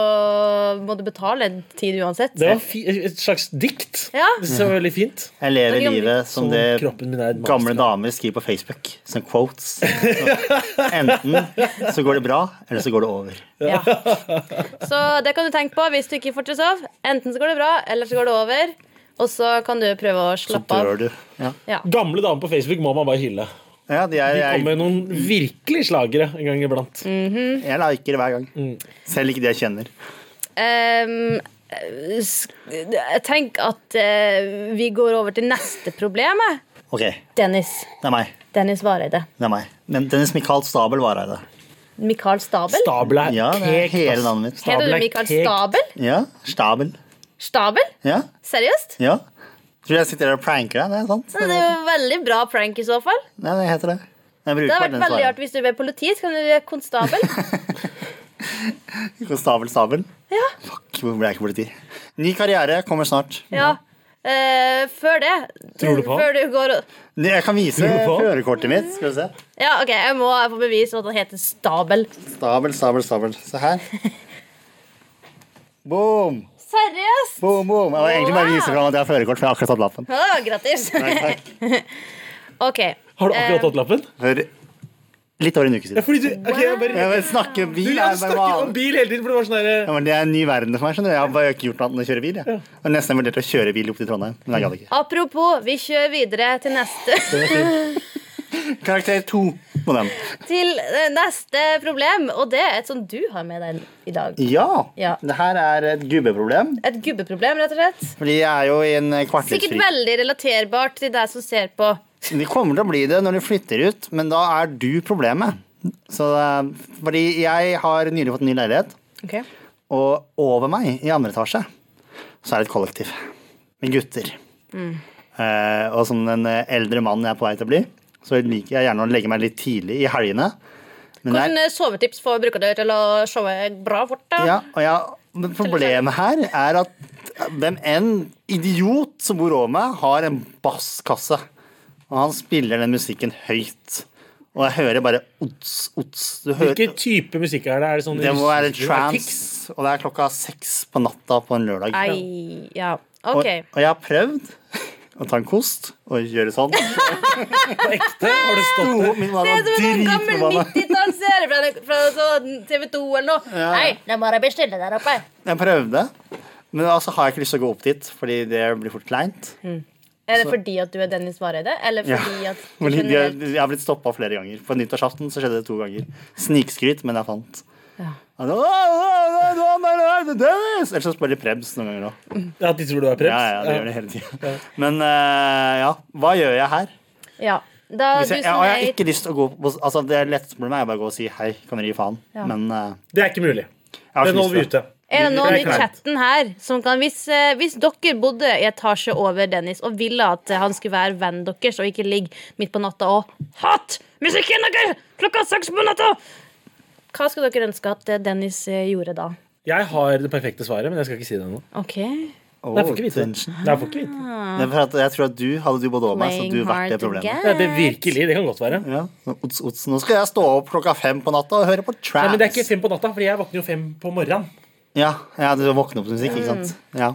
B: må du betale en tid uansett.
C: Det var fi, et slags dikt.
B: Ja.
C: Det synes jeg var veldig fint.
D: Jeg
B: Det
D: lever
B: er sånn ikke
D: livet som
C: Som
D: det
C: kroppen min er et
D: gamle
C: mastercard.
D: damer skriver på Facebook, som quotes. Så Enten så går det bra, eller så går det over.
B: Ja. <laughs> Så det kan du tenke på hvis du ikke får til å sove. Enten så går det bra, eller så går det over. Og så kan du prøve å
D: Så
B: slappe av.
D: dør du. Ja,
B: Ja.
C: Gamle damer på Facebook må man bare hylle.
D: ja de er,
C: De
D: jeg,
C: kommer med noen virkelig slagere en gang iblant.
B: Mm.
D: jeg liker det hver gang. Selv ikke de jeg kjenner.
B: Ehm, sk- jeg tenker at eh, vi går over til neste problem. jeg.
D: Ok, det
B: Dennis.
D: er meg.
B: Dennis Vareide.
D: Det er meg. Men Dennis Michael Stabel var her i det.
B: Mikael Stabel.
C: Stabel er
D: Ja, det er
C: kekt,
D: hele
C: ass.
D: navnet mitt.
B: Heter
C: Stabel
B: du
C: er
B: Mikael
C: kekt.
B: Stabel?
D: Ja, Stabel.
B: Stabel?
D: Ja,
B: Seriøst?
D: ja. Tror du jeg sitter der og pranker deg? Det er sant.
B: Det er jo veldig bra prank i så fall.
D: Nei, det heter det.
B: Det
D: Jeg
B: hadde
D: bruker bare
B: vært
D: den
B: veldig rart
D: svaren.
B: hvis du ble politi. Så kan du bli konstabel.
D: Stabel, Stabel.
B: Ja,
D: Fuck, Hvor ble jeg ikke politi? Ny karriere kommer snart.
B: ja. Eh, før det
C: Tror du på han?
B: Før du går og
D: Jeg kan vise
C: Tror du på?
D: førerkortet mitt. Skal du se.
B: Ja, OK, jeg må få bevis for at han heter Stabel.
D: Stabel, stabel, stabel. Se her. Boom,
B: Seriøst?
D: boom, boom. Jeg vil egentlig bare vise fram at jeg har førerkort, for jeg har akkurat tatt lappen.
B: Ja, grattis.
D: Takk, takk.
B: <laughs> OK. Eh,
C: Har du akkurat tatt lappen?
D: For Litt over en uke
C: Ja,
D: siden.
C: fordi du, ok, jeg
D: Jeg
C: bare,
D: vil snakke
C: du,
D: bil.
C: ja,
D: er
C: du
D: bare
C: snakker om
D: vanlig.
C: bil hele tiden, for det var sånn der,
D: Ja, men det er en ny verden for meg. skjønner du Jeg har bare ikke gjort noe annet enn å kjøre bil. Jeg. Og nesten jeg vurderte å kjøre bil opp til Trondheim, men jeg gadd ikke.
B: Apropos, vi kjører videre til neste,
D: Karakter to på den.
B: til eh, neste problem, og det er et som du har med deg i dag.
D: Ja.
B: Ja.
D: Det her er et gubbeproblem.
B: Et gubbeproblem, rett og slett.
D: Fordi jeg er jo i en
B: Sikkert
D: kvartlivsfri
B: veldig relaterbart til deg som ser på.
D: De kommer til å bli det når de flytter ut, men da er du problemet. Så, eh, fordi jeg har nylig fått en ny leilighet, og over meg i andre etasje så er det et kollektiv med gutter. Eh, og som den eh, eldre mannen jeg er på vei til å bli, så liker jeg gjerne å legge meg litt tidlig i helgene. Men det er-
B: Hvilke eh, sovetips får bruker dere til å showe bra fort? da?
D: ja, og ja, men problemet her er at hvem enn idiot som bor over meg, har en basskasse. Og han spiller den musikken høyt. Og jeg hører bare ots, ots. Du hører,
C: Hvilken type musikk er det? Er det sånn
D: det må være
C: russisk-
D: trance, og det er klokka seks på natta på en lørdag.
B: Ei, ja.
D: Og,
B: OK.
D: og jeg har prøvd å ta en kost og gjøre
B: <laughs>
D: sånn.
C: På ekte? Har du stått
D: Oh, min mann
B: Det er som
D: var
B: en sånn gammel
D: dritforbanna.
B: 90-tallsserie fra, fra sånn TV 2 eller noe. Nei, nå må jeg bestille der oppe.
D: Jeg prøvde, men altså har jeg ikke lyst til å gå opp dit, fordi det blir fort kleint.
B: Er det fordi at du er Dennis Vareide, eller
D: Ja.
B: fordi
D: <laughs>
B: at
D: Fordi de har,
B: generelt-
D: jeg har blitt stoppa flere ganger. På nyttårsaften så skjedde det to ganger. Snikskryt, men jeg fant. Han sa, «Åh, åh, åh, åh, åh, åh, åh, det er Dennis!» Ellers så spiller de Prebz noen ganger òg.
C: Ja, de tror du er preps?
D: Ja, ja, det gjør det hele tiden. <laughs> Men eh, ja, hva gjør jeg her?
B: Ja. Da
D: Hvis
B: du
D: jeg, jeg,
B: som
D: og jeg har
B: er
D: ikke lyst til å gå på Altså, Det letteste for meg er bare å gå og si hei, kan dere gi faen? Men eh,
C: Det er ikke mulig.
D: jeg har
C: Den
D: ikke
C: holder vi
D: lyst til det.
C: ute.
B: Er det noen
C: Det
B: i
C: er kleint.
B: chatten her som kan Hvis, eh, hvis dere bodde i etasje over Dennis og ville at eh, han skulle være vennen deres og ikke ligge midt på natta og Hat! Musikken deres! Klokka seks på natta! Hva skulle dere ønske at eh, Dennis eh, gjorde da?
C: Jeg har det perfekte svaret, men jeg skal ikke si det ennå.
B: OK.
D: Åh,
C: Nei, Jeg får ikke vite det.
D: tension.
C: Nei, jeg får ikke vite. det.
D: Det er for at jeg tror at du hadde du både over meg, så
B: Playing
D: hadde sånn, du
B: hard
D: vært det
B: to
D: problemet.
B: get.
C: Ja, det virkelig, det kan godt være.
D: Ja, så ots, ots. Nå skal jeg stå opp klokka fem på natta og høre på
C: Nei,
D: trans.
C: men det er ikke fem på natta, fordi jeg våkner jo fem på morgenen.
D: ja, ja, du våkner opp til musikk, ikke
B: Mm.
D: sant? Ja.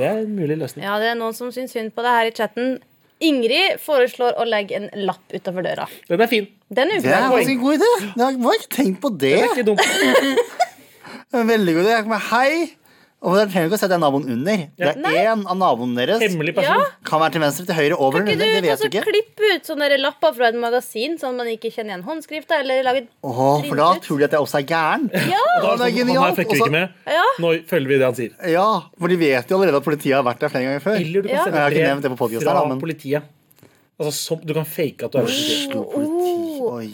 C: Det er en mulig løsning.
B: Ja, det er noen som syns synd på deg her i chatten. Ingrid foreslår å legge en lapp utafor døra.
C: Den er fin.
B: Den er
D: Det er
B: uforberedt.
D: faktisk en god idé. Jeg har ikke tenkt på det.
C: Det er ikke dumt.
D: Det er en Veldig god idé. Jeg kommer, Hei! Og dere trenger ikke å sette naboen under. Det
B: Nei.
D: er én av naboene deres.
C: Hemmelig
B: Ja.
C: person.
D: Kan være til venstre, til høyre, over
B: Kan
D: eller
B: ikke
D: under. Det
B: du ta
D: vet
B: så
D: du ikke.
B: klippe ut sånne der lapper fra et magasin, sånn at man ikke kjenner igjen håndskrifta? Eller lage et
D: Åh, for da
B: print ut?
D: tror de at jeg også er gæren.
B: Ja!
D: Og da er
C: Altså, Han her
D: det genialt.
C: fucker vi
D: Og
C: ikke
D: så-
C: med.
B: Ja.
C: Nå følger vi det han sier.
D: Ja, for de vet jo allerede at politiet har vært der flere ganger før.
C: Eller du kan
B: Ja.
D: Jeg har ikke
C: sende
D: nevnt det på
C: brev
D: podcasten
C: fra
D: her, da, men-
C: politiet. Altså, som, du kan fake at du er politiet.
D: Oslo politi. Oh. Oi,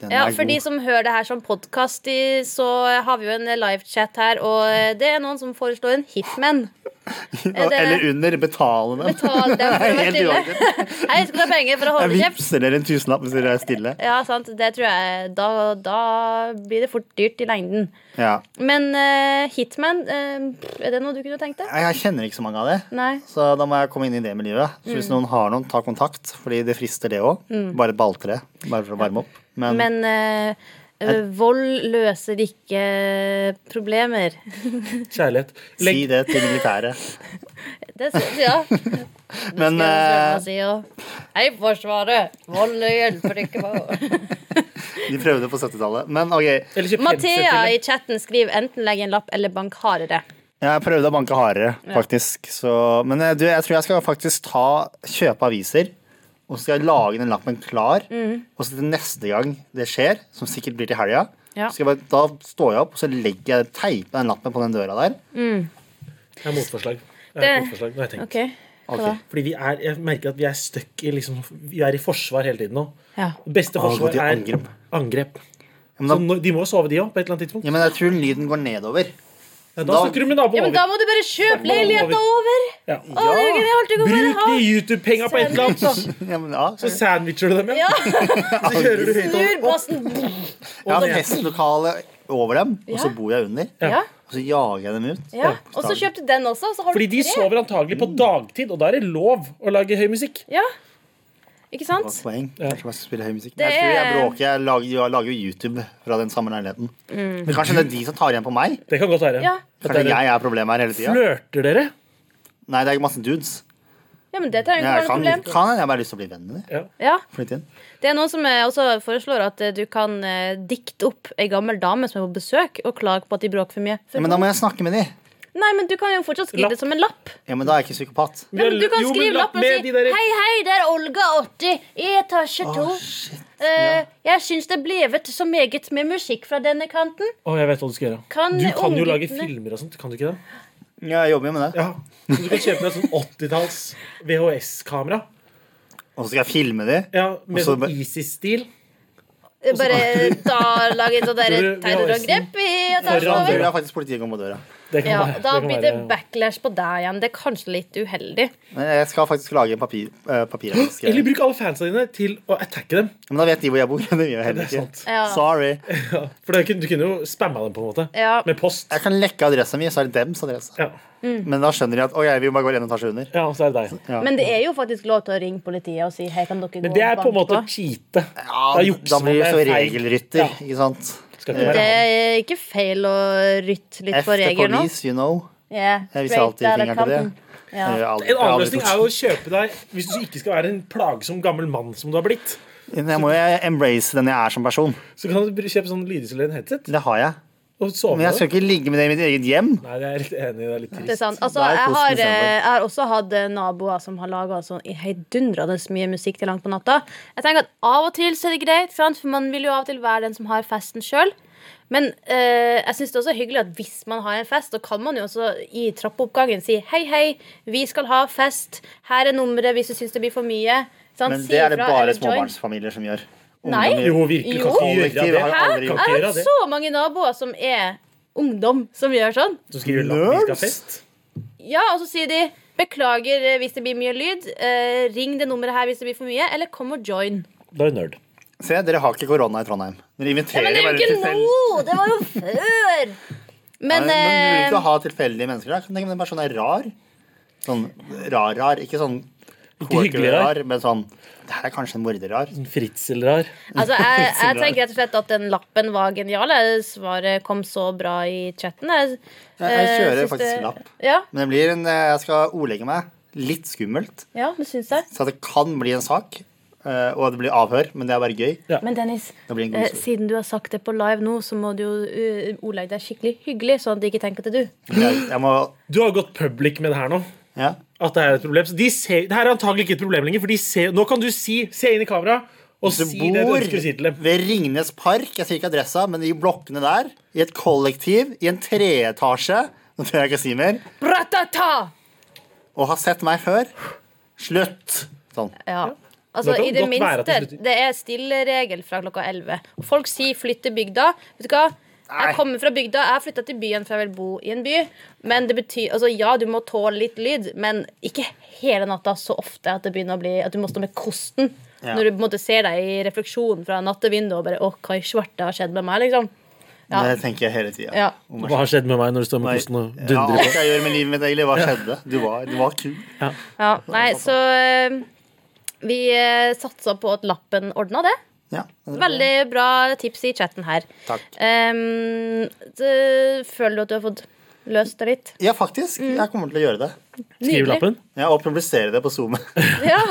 D: den
B: Ja,
D: er
B: for de
D: god.
B: som hører det her som podkast, så har vi jo en livechat her, og eh, det er noen som foreslår en hitman. Er eh, det-
D: Eller under. Betale dem.
B: Ta
D: <laughs>
B: dem for å være
D: Helt
B: stille.
D: uaktuelt.
B: Hei, <laughs> jeg skulle ha penger for å
D: Jeg
B: holde kjeft.
D: vippser dere en tusenlapp hvis dere er stille.
B: Ja, sant. Det tror jeg Da, da blir det fort dyrt i lengden.
D: Ja.
B: Men eh, hitman, eh, er det noe du kunne tenkt deg?
D: Jeg kjenner ikke så mange av det.
B: Nei.
D: Så da må jeg komme inn i det miljøet. Så
B: Mm.
D: hvis noen har noen, ta kontakt, fordi det frister det òg. Bare et balltre, bare for å varme opp. Men,
B: Men eh, eh, vold løser ikke problemer.
C: Kjærlighet.
D: si det til militæret.
B: Det synes jeg.
D: Men eh,
B: Hei, Forsvaret. Vold hjelper ikke på.
D: de prøvde på 70-tallet. Men OK,
C: Eller kjøp headset
B: Mathea
C: til
B: i chatten skriver enten legg en lapp eller bank hardere.
D: jeg prøvde å banke hardere, faktisk. Så, men eh, du, jeg tror jeg skal faktisk ta, kjøpe aviser. Og så skal jeg lage den lappen klar.
B: Mm.
D: Og så til neste gang det skjer, som sikkert blir til helga,
B: Ja.
D: så skal jeg bare, da står jeg opp og så legger jeg teiper den lappen på den døra der.
C: Jeg har motforslag. Jeg har
B: Det-
C: et motforslag. Nå har jeg tenkt.
B: Ok,
D: Ok.
C: Fordi vi er, jeg merker at vi er støkk i liksom, Vi er i forsvar hele tiden nå.
B: Ja.
C: Det beste
D: Å, gå
C: forsvar
D: til
C: er
D: angrep.
C: angrep.
D: men da-
C: Så nå- de må jo sove, de òg, på et eller annet tidspunkt.
D: Ja, men jeg tror lyden går nedover. <laughs>
C: Ja, da
D: da-
C: snakker du med naboen
B: Ja, men
C: over.
B: da må du bare kjøpe leiligheta over!
C: Ja.
B: Å, det er jo ikke det alt du kan bare
C: Bruk
B: ha!
C: de YouTube-penga på et eller annet!
D: Ja, men, ja.
C: Så sandwicher du dem igjen.
B: Ja,
C: Så kjører du høyt over.
B: Snur bassen.
D: Jeg har festlokale over dem, og så bor jeg under.
B: Ja,
D: Og så jager jeg dem ut.
B: ja. Og så kjøpte den også, så har
C: Fordi
B: du
C: de
B: tre.
C: sover antagelig på dagtid, og da er det lov å lage høy musikk.
B: Ja. Ikke
D: Godt
B: sant?
D: poeng. Kanskje jeg skal spille høy musikk.
B: Det
D: Jeg tror jeg
B: er-
D: bråker. Jeg lager, jeg lager jo YouTube fra den samme leiligheten.
B: Mm.
D: Men kanskje det er de som tar igjen på meg?
C: Det kan godt være.
B: Ja.
C: At det
D: Kanskje
C: er-
D: jeg er problemet her hele tida?
C: Flørter dere?
D: Nei, det er masse dudes.
B: Ja, men det trenger ikke
D: Jeg
B: være noe
D: kan,
B: problem.
D: kan jeg har bare lyst til å bli venn med dem.
B: Ja.
D: Flytt inn.
B: Det er noen som eh, også foreslår at eh, du kan eh, dikte opp ei gammel dame som er på besøk, og klage på at de bråker for mye. For-
D: Ja, men da må jeg snakke med dem.
B: Nei, men du kan jo fortsatt skrive
C: Lapp.
B: det som en lapp.
D: Ja, men da er jeg ikke psykopat.
B: Nei, men du kan
C: Jo, men
B: skrive
C: lapp
B: lappen
C: med
B: og si
C: de der-
B: Hei, hei, det er Olga 80 i etasje 2.
D: shit.
B: Jeg syns det ble vevet så meget med musikk fra denne kanten.
C: Å, jeg vet hva du skal gjøre.
B: Kan
C: du kan jo lage
B: ungguttene-
C: filmer og sånt, kan du ikke det?
D: Ja, jeg jobber jo med det.
C: Ja. Så du kan kjøpe deg et sånn 80-talls VHS-kamera.
D: Og så skal jeg filme dem.
C: Ja, Med
D: Og så
C: sånn
D: bare-
C: ISIS-stil.
B: Bare da lage en sånn der
C: <laughs> Tror du vi har
B: terrorangrep i
D: Da
B: etasje
C: Foran
B: over.
D: tror jeg faktisk politiet kommer på døra.
C: Det kan
B: Ja,
C: være,
B: da
C: kan
B: blir det
C: være-
B: backlash på deg igjen. Det er kanskje litt uheldig.
D: Men jeg skal faktisk lage en papir, eh, papiravis
C: <gasps>
D: greie.
C: Eller bruk alle fansa dine til å attacke dem.
D: Men da vet de hvor jeg bor. <laughs> Det gjør jeg heller
C: Det er
D: ikke.
C: sant.
B: Ja.
D: Sorry.
C: For det kunne, du kunne jo spamma dem på en måte.
B: Ja.
C: Med post.
D: Jeg kan lekke adressa mi, så er det dems adresse.
C: Ja.
D: Men da skjønner de at å, jeg vil bare gå en etasje under.
C: ja, så er det deg.
B: Men det er jo faktisk lov til å ringe politiet og si hei, kan dere gå
C: Men det er
B: og
C: på en måte
B: banke
C: å cheate. Da
D: Ja, da,
C: jukser man
D: blir du
C: med
D: så
C: feil.
D: regelrytter,
C: Ja.
D: ikke sant?
C: Skal ikke
B: Det
C: være han.
B: er ikke feil å rytte litt
D: F
B: på
D: the
B: regelen nå.
D: police, you know.
B: Yeah,
D: Jeg viser
B: straight out of
D: alltid fingeren til det.
B: Compton. Ja.
D: Jeg gjør aldri-
C: En annen
D: aldri
C: løsning er
D: gjort.
C: jo å kjøpe deg Hvis du ikke skal være en plagsom gammel mann som du har blitt,
D: Jeg må jo embrace den jeg er som person.
C: så kan du kjøpe sånn lydisolerende headset
D: Det har jeg.
C: og sove
D: Men
C: med det.
D: jeg skal ikke ligge med det i mitt eget hjem.
C: Nei, jeg er litt enig. Det er litt
B: Det er
C: trist.
B: sant. Altså,
D: Det er
B: jeg,
D: koselig
B: har, eh, jeg
D: sammen.
B: har også hatt eh, naboer som har laga sånn heidundrende mye musikk til langt på natta. Jeg tenker at Av og til så er det greit, sant? for man vil jo av og til være den som har festen sjøl. Men eh, jeg synes det er også hyggelig at hvis man har en fest, så kan man jo også i trappeoppgangen si hei, hei, vi skal ha fest. Her er nummeret hvis du syns det blir for mye. Sant?
D: Men
B: Si
D: det er det
B: ifra,
D: bare
B: eller join.
D: småbarnsfamilier som gjør.
B: Nei.
C: Jo, virkelig.
B: Jo.
C: Kan ikke
D: Kollektiv
C: gjøre det.
D: har jo aldri
B: Jeg
C: Hæ?
D: gjort det.
B: har
C: gjøre
B: hatt
C: det.
B: så mange naboer som er ungdom, som gjør sånn.
C: Så skriver du at vi skal ha fest.
B: Ja, og så sier de Beklager eh, hvis det blir mye lyd. Eh, ring det nummeret her hvis det blir for mye, eller kom og join.
C: Da er du nerd.
D: Se, dere har ikke korona i Trondheim. Dere inviterer
B: Men det er jo
D: bare
B: ikke
D: tilfeldig.
B: nå! Det var jo før! Men,
D: Men, men du vil
B: eh,
D: ikke ha tilfeldige mennesker der. Tenk om den personen er rar. Sånn rar-rar. Ikke sånn
C: hyggelig rar.
D: rar, men sånn Det her er kanskje en morder-rar.
C: En fritzelrar.
B: <laughs> altså,
D: <laughs>
B: jeg, jeg tenker rett og slett at den lappen var genial. Jeg- Svaret kom så bra i chatten. Jeg,
D: Jeg, jeg
B: eh,
D: kjører
B: syns
D: faktisk
B: det-
D: lapp.
B: Ja,
D: Men det blir en eh, Jeg skal ordlegge meg. Litt skummelt.
B: ja, det syns jeg.
D: Så det kan bli en sak. eh, Og det blir avhør, men det er bare gøy.
B: Men Dennis,
D: Det blir en god
B: eh,
D: historie.
B: siden du har sagt det på live nå, så må du jo eh, ordlegge deg skikkelig hyggelig, sånn at de ikke tenker at det er du.
D: Jeg, jeg må
C: Du har gått public med det her nå.
D: Ja.
C: At det er et problem. Så de ser, det her er antagelig ikke et problem lenger, for de ser, nå kan du si Se inn i kamera og
D: Du
C: si det du
D: bor
C: ønsker å si til dem.
D: ved Ringnes Park, jeg sier ikke adressa, men i blokkene der. I et kollektiv, i en treetasje. Nå tør jeg ikke si mer.
B: Bratata!
D: Og har sett meg før. Slutt! Sånn.
B: Ja. Altså,
C: Da kan
B: I
C: det
B: det
C: godt være at det
B: minste,
C: slutter.
B: det er stilleregel fra klokka 11. Og folk sier 'flytte bygda'. Vet du hva?
D: Nei.
B: Jeg kommer fra bygda, jeg har flytta til byen, for jeg vil bo i en by. Men det betyr, altså Ja, du må tåle litt lyd, men ikke hele natta så ofte at det begynner å bli At du må stå med kosten
D: Ja.
B: når du på en måte ser deg i refleksjonen fra nattevinduet og bare 'Å, hva i svarte har skjedd med meg?' liksom. Ja.
D: Det tenker jeg hele tida.
B: Ja.
C: Hva har skjedd med meg når du står med kosten og
D: Ja,
C: dundrer på?
D: alt jeg gjør med livet mitt, egentlig. Hva skjedde? Du var, du var kul.
B: ja. Nei, så eh, vi eh, satsa på at lappen ordna det.
D: Ja.
B: Veldig bra tips i chatten her.
D: Takk.
B: Ehm, det, føler du at du har fått løst det litt? <laughs>
D: Ja, faktisk.
B: Mm.
D: Jeg kommer til å gjøre det.
B: Nydelig.
C: Skriv lappen.
D: Ja, og publisere det på Zoom.
B: Ja,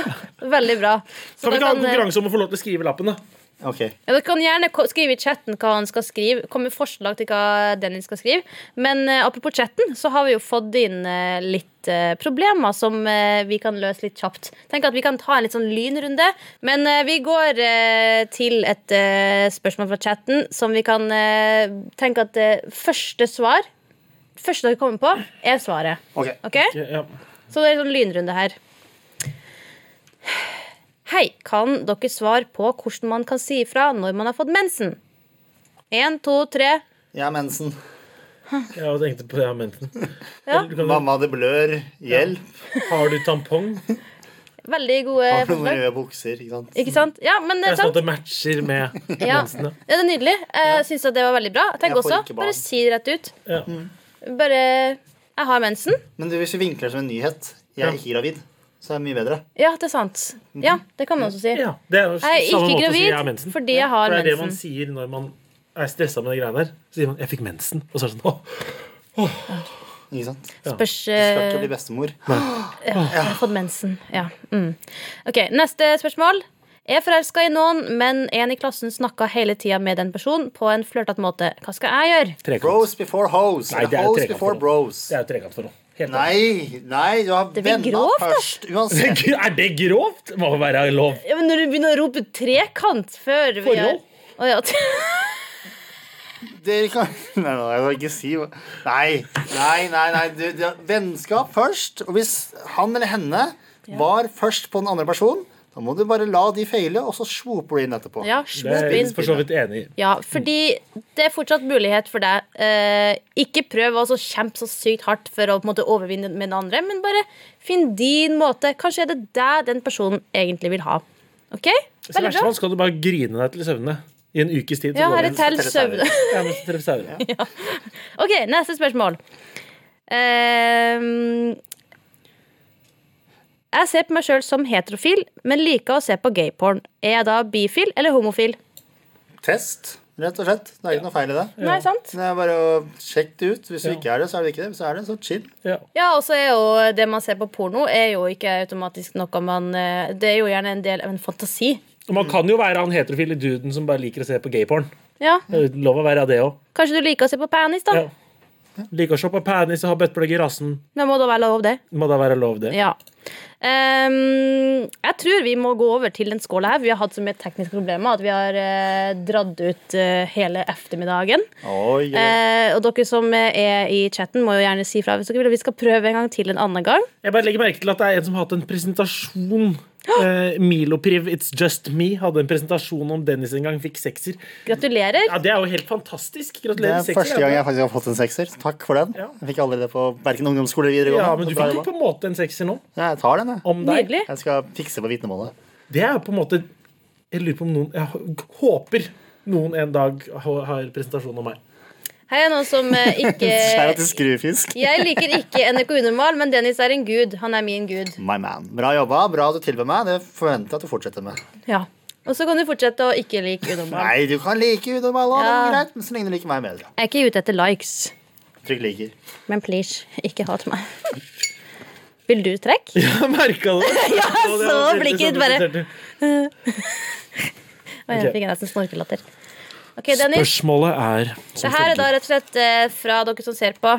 B: veldig bra. Så
C: Kan vi
B: da
C: ikke
B: kan,
C: ha en
B: eh,
C: konkurranse om å få lov til å skrive lappen, da?
D: Ok.
B: ja, dere kan gjerne ko- skrive i chatten hva han skal skrive. Komme med forslag til hva Dennis skal skrive. Men eh, apropos chatten, så har vi jo fått inn eh, litt eh, problemer som eh, vi kan løse litt kjapt. Tenk at Vi kan ta en litt sånn lynrunde. Men eh, vi går eh, til et eh, spørsmål fra chatten som vi kan eh, tenke at eh, første svar Første dere kommer på, er svaret.
D: Ok.
B: Ok?
C: Ja.
B: Så det er en sånn lynrunde her. Hei, kan dere svare på hvordan man kan si ifra når man har fått mensen? Én, to, tre.
D: Jeg har mensen.
C: Jeg tenkte på det her mensen.
B: Ja.
C: Du kan-
D: Mamma, det blør. Hjelp.
C: Har du tampong?
B: Veldig gode
D: Har du noen
B: forslag.
D: røde bukser? Ikke sant?
B: Ikke sant? Ja, men eh,
C: Jeg sånn at
B: sant.
C: det matcher med
B: Ja.
C: mensen. da.
B: ja, det er nydelig. Jeg syns at det var veldig bra. Tenk
D: Jeg får
B: også,
D: ikke barn.
B: bare si det rett ut.
C: Ja.
B: Bare Jeg har mensen.
D: Men du, hvis du vinkler det som en nyhet
C: Ja.
D: Jeg er ikke gravid, så er det mye bedre.
B: Ja, det er sant. Ja, det kan man også si.
C: Ja, det er jo
B: Jeg er ikke
C: samme måte å si jeg har
B: gravid
C: mensen.
B: fordi jeg har
C: For det er det man
B: mensen.
C: sier når man er stressa med de greiene der. Så sier man 'jeg fikk mensen', og så er det sånn åh, åh,
D: Ikke sant?
B: Spørs
D: Jeg skal ikke
B: eh,
D: bli bestemor.
B: Jeg har fått mensen. Ja. Mm. Ok, Neste spørsmål. Jeg er forelska i noen, men en i klassen snakka hele tida med den personen på en flørtete måte. Hva skal jeg gjøre?
C: Trekant.
D: Bros before hoes.
C: Nei, det
D: Eller
C: er jo
D: hoes
C: trekant
D: before
C: for noe.
D: bros.
C: Det er jo trekant for noe. Helt
D: Nei, nei, du har
B: Det blir
D: venner
B: grovt, da.
D: først. Uansett.
C: enig. Er det grovt? Må være lov.
B: Ja, men når du begynner å rope trekant før vi
C: Forhold.
B: er- Å, ja.
D: Dere kan <laughs> Nei, nei, jeg vil ikke si hva- Nei, nei, nei. nei. Du, du, har vennskap først. Og hvis han eller henne var først på den andre personen, da må du bare la de feile, og så svoper du inn etterpå.
B: <laughs> ja,
C: Det er
B: smop
C: jeg
B: inn.
C: for så vidt enig i.
B: Ja, fordi det er fortsatt mulighet for deg. Eh, ikke prøv å så kjempe så sykt hardt for å på en måte overvinne med den andre, men bare finn din måte. Kanskje er det deg den personen egentlig vil ha. OK?
C: Så i
B: Veldig
C: verste
B: bra.
C: fall skal du bare grine deg til søvne i en ukes tid. så
B: Ja,
C: går
B: her
C: det-
B: er tell
D: Telle
B: søvn.
C: Ja, men så treffes jeg jo.
B: OK, neste spørsmål. Ehm, jeg ser på meg sjøl som heterofil, men liker å se på gayporn. Er jeg da bifil eller homofil?
D: Test, rett og slett. Det er ikke noe feil i det.
B: Nei, sant?
D: Det er bare å sjekke det ut. Hvis du ikke er det, så er det ikke det. Hvis du er det, så chill.
C: Ja.
B: Ja, og så er jo det man ser på porno, er jo ikke automatisk noe man eh, Det er jo gjerne en del av en fantasi.
C: Og
D: Mm.
C: Man kan jo være han heterofile duden som bare liker å se på gayporn.
B: Ja,
C: Det er Lov å være det òg.
B: Kanskje du liker å se på penis, da?
C: Ja. Liker å se på penis og ha bøtteplugg i rassen.
B: Men må da være lov, det.
C: Må da være lov, det.
B: Ja. Ehm, jeg tror vi må gå over til den skåla her. Vi har hatt så mye tekniske problemer at vi har eh, dratt ut eh, hele ettermiddagen.
D: Oi,
B: Eh, og dere som eh, er i chatten, må jo gjerne si fra hvis dere vil. og Vi skal prøve en gang til en annen gang.
C: Jeg bare legger merke til at det er en som har hatt en presentasjon. Eh, Milopriv It's Just Me hadde en presentasjon om Dennis en gang fikk sekser.
B: Gratulerer.
C: Ja, Det er jo helt fantastisk.
D: Det
C: Gratulerer.
D: er
C: med sekser,
D: første gang
C: ja.
D: jeg faktisk har fått en sekser. så Takk for den.
C: Ja.
D: Jeg fikk aldri det på verken ungdomsskole eller videregående.
C: Ja, men du
D: Så bra
C: fikk jo
D: jobba.
C: på en måte en sekser nå.
D: Ja, Jeg tar den, jeg.
C: Om deg.
B: Nydelig.
D: Jeg skal fikse på vitnemålet.
C: Det er jo på en måte Jeg lurer på om noen Jeg håper noen en dag har har presentasjon
D: <laughs>
C: om meg.
B: Her er noen som eh,
D: Skjæra
B: ikke
D: til skrufisk.
B: Jeg liker ikke NRK Unormal, men Dennis er en gud. Han er min gud.
D: My man. Bra jobba. Bra at du tilbød meg. Det forventer jeg at du fortsetter med.
B: Ja. Og så kan du fortsette å ikke like Unormal.
D: Nei, du kan like unormale, det er
B: Ja.
D: greit, men så lenge du liker meg bedre.
B: Jeg er ikke ute etter likes,
D: Trykk liker.
B: men please, ikke hat meg. Vil du trekk?
C: Jeg merka det.
B: <laughs> Ja,
C: Og det
B: så
C: var veldig
B: blikket
C: sånn
B: ditt bare
C: interessert.
B: Å, Jeg fikk nesten snorkelatter. OK, Dennis.
E: Spørsmålet er som
B: Det her er da
E: følger.
B: rett og slett eh, fra dere som ser på.